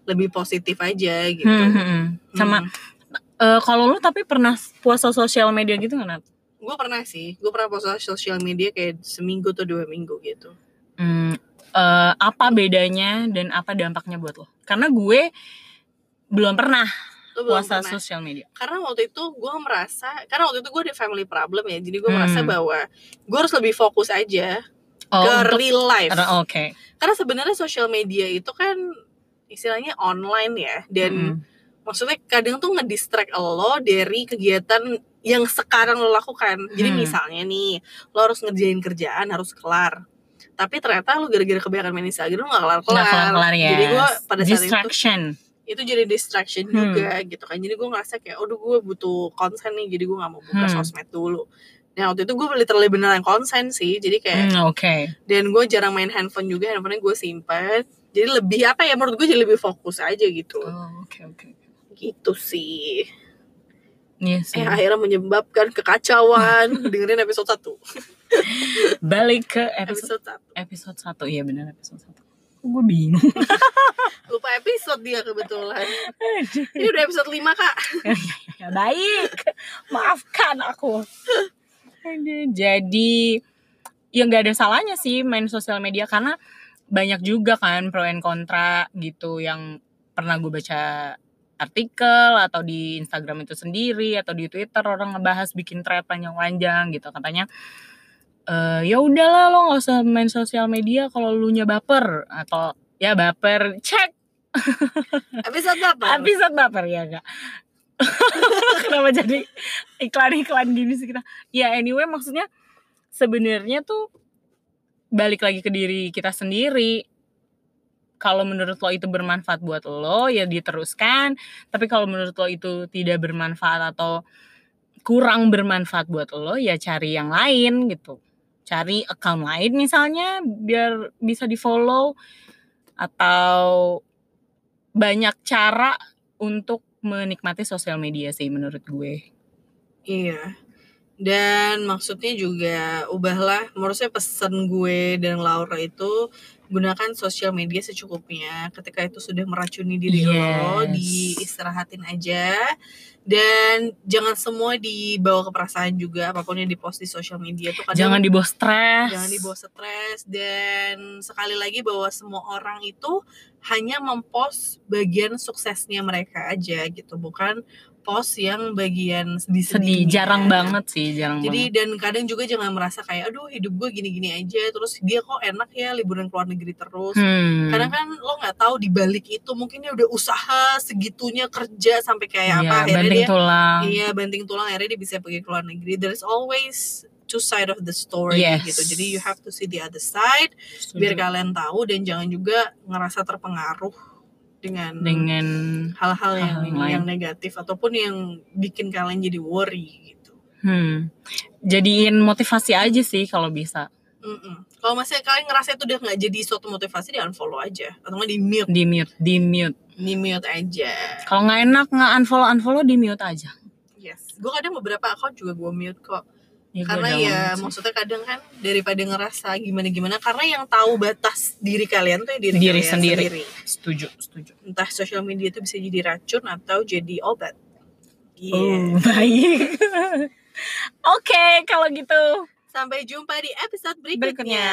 [SPEAKER 2] lebih positif aja gitu.
[SPEAKER 1] Hmm, hmm, hmm. Sama eh, kalau lu tapi pernah puasa sosial media gitu nggak? Nat?
[SPEAKER 2] gue pernah sih, gue pernah post sosial media kayak seminggu atau dua minggu gitu.
[SPEAKER 1] Hmm, eh, apa bedanya dan apa dampaknya buat lo? Karena gue belum pernah
[SPEAKER 2] Lo belum
[SPEAKER 1] puasa
[SPEAKER 2] pernah?
[SPEAKER 1] sosial media.
[SPEAKER 2] Karena waktu itu gue merasa, karena waktu itu gue ada family problem ya, jadi gue
[SPEAKER 1] Hmm.
[SPEAKER 2] merasa bahwa gue harus lebih fokus aja ke
[SPEAKER 1] Oh, untuk- oh.
[SPEAKER 2] real life.
[SPEAKER 1] karena- oke.
[SPEAKER 2] Karena sebenarnya sosial media itu kan istilahnya online ya, dan
[SPEAKER 1] Mm-mm.
[SPEAKER 2] maksudnya kadang tuh ngedistract lo dari kegiatan yang sekarang lo lakukan. Jadi
[SPEAKER 1] Hmm.
[SPEAKER 2] misalnya nih, lo harus ngerjain kerjaan harus kelar. Tapi ternyata lo gara-gara kebanyakan main Instagram lo gak kelar-kelar.
[SPEAKER 1] Nggak kelar-kelar ya.
[SPEAKER 2] Jadi gue pada saat itu
[SPEAKER 1] distraction.
[SPEAKER 2] itu jadi distraction
[SPEAKER 1] Hmm.
[SPEAKER 2] juga gitu kan. Jadi gue ngerasa kayak, aduh gue butuh konsen nih. Jadi gue gak mau buka
[SPEAKER 1] Hmm.
[SPEAKER 2] sosmed dulu. Nah waktu itu gue literally beneran konsen sih. Jadi kayak
[SPEAKER 1] Hmm, oke.
[SPEAKER 2] dan gue jarang main handphone juga. Handphonenya gue simpen. Jadi lebih apa ya menurut gue jadi lebih fokus aja gitu.
[SPEAKER 1] Oh, oke oke.
[SPEAKER 2] Gitu sih.
[SPEAKER 1] Iya sih.
[SPEAKER 2] yang akhirnya menyebabkan kekacauan dengerin episode 1
[SPEAKER 1] Balik ke episode
[SPEAKER 2] episode 1
[SPEAKER 1] episode 1. Iya benar episode 1. Gue bingung.
[SPEAKER 2] lupa episode dia kebetulan ini udah episode 5 kak
[SPEAKER 1] ya baik maafkan aku Aduh, jadi ya nggak ada salahnya sih main sosial media karena banyak juga kan pro and kontra gitu yang pernah gue baca artikel atau di Instagram itu sendiri atau di Twitter orang ngebahas bikin thread panjang-panjang gitu katanya eh ya udahlah lo nggak usah main sosial media kalau lu nya baper atau ya baper cek
[SPEAKER 2] episode apa?
[SPEAKER 1] episode baper ya kak kenapa jadi iklan-iklan gini sih kita ya anyway maksudnya sebenarnya tuh balik lagi ke diri kita sendiri kalau menurut lo itu bermanfaat buat lo ya diteruskan tapi kalau menurut lo itu tidak bermanfaat atau kurang bermanfaat buat lo ya cari yang lain gitu cari account lain misalnya biar bisa di follow atau banyak cara untuk menikmati sosial media sih menurut gue.
[SPEAKER 2] iya dan maksudnya juga ubahlah menurut saya pesan gue dan Laura itu gunakan sosial media secukupnya ketika itu sudah meracuni diri lo
[SPEAKER 1] Yes.
[SPEAKER 2] diistirahatin aja dan jangan semua dibawa ke perasaan juga apapun yang dipost di sosial media tuh kadang
[SPEAKER 1] Jangan dibawa stres.
[SPEAKER 2] jangan dibawa stres dan sekali lagi bahwa semua orang itu hanya mempost bagian suksesnya mereka aja gitu bukan post yang bagian sedih
[SPEAKER 1] sedih. Jarang banget sih, jarang
[SPEAKER 2] ya. jadi
[SPEAKER 1] banget.
[SPEAKER 2] dan kadang juga jangan merasa kayak aduh hidup gue gini-gini aja terus dia kok enak ya liburan ke luar negeri terus
[SPEAKER 1] Hmm.
[SPEAKER 2] Kadang kan lo nggak tahu di balik itu mungkin dia udah usaha segitunya kerja sampai
[SPEAKER 1] Iya,
[SPEAKER 2] kayak apa akhirnya
[SPEAKER 1] banting
[SPEAKER 2] dia
[SPEAKER 1] tulang.
[SPEAKER 2] Iya banting tulang akhirnya dia bisa pergi ke luar negeri. There's always two side of the story
[SPEAKER 1] Yes.
[SPEAKER 2] gitu. Jadi you have to see the other side
[SPEAKER 1] Setuju.
[SPEAKER 2] biar kalian tahu dan jangan juga ngerasa terpengaruh dengan
[SPEAKER 1] dengan
[SPEAKER 2] hal-hal yang
[SPEAKER 1] hal-hal yang lain.
[SPEAKER 2] yang negatif ataupun yang bikin kalian jadi worry gitu.
[SPEAKER 1] hmm. Jadiin motivasi aja sih kalau bisa.
[SPEAKER 2] Mm-mm. Kalau masih kalian ngerasa itu udah nggak jadi suatu motivasi, di unfollow aja atau nggak di mute,
[SPEAKER 1] Di mute, di mute.
[SPEAKER 2] di mute aja.
[SPEAKER 1] Kalau nggak enak nggak unfollow, unfollow di mute aja.
[SPEAKER 2] Yes, gue kadang beberapa akun juga gue mute kok.
[SPEAKER 1] Ya, gue
[SPEAKER 2] karena
[SPEAKER 1] down
[SPEAKER 2] ya
[SPEAKER 1] sih.
[SPEAKER 2] maksudnya kadang kan daripada ngerasa gimana gimana karena yang tahu batas diri kalian tuh ya diri,
[SPEAKER 1] Diri
[SPEAKER 2] kalian
[SPEAKER 1] sendiri. setuju, setuju.
[SPEAKER 2] entah sosial media itu bisa jadi racun atau jadi obat Iya.
[SPEAKER 1] Oh, baik. Oke, kalau gitu.
[SPEAKER 2] sampai jumpa di episode
[SPEAKER 1] Berikutnya.
[SPEAKER 2] berikutnya.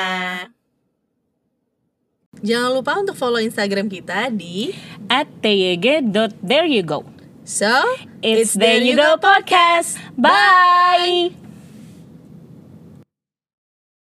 [SPEAKER 2] jangan lupa untuk follow instagram kita di
[SPEAKER 1] at tyg.there you go.
[SPEAKER 2] so
[SPEAKER 1] It's the You Go podcast. Bye.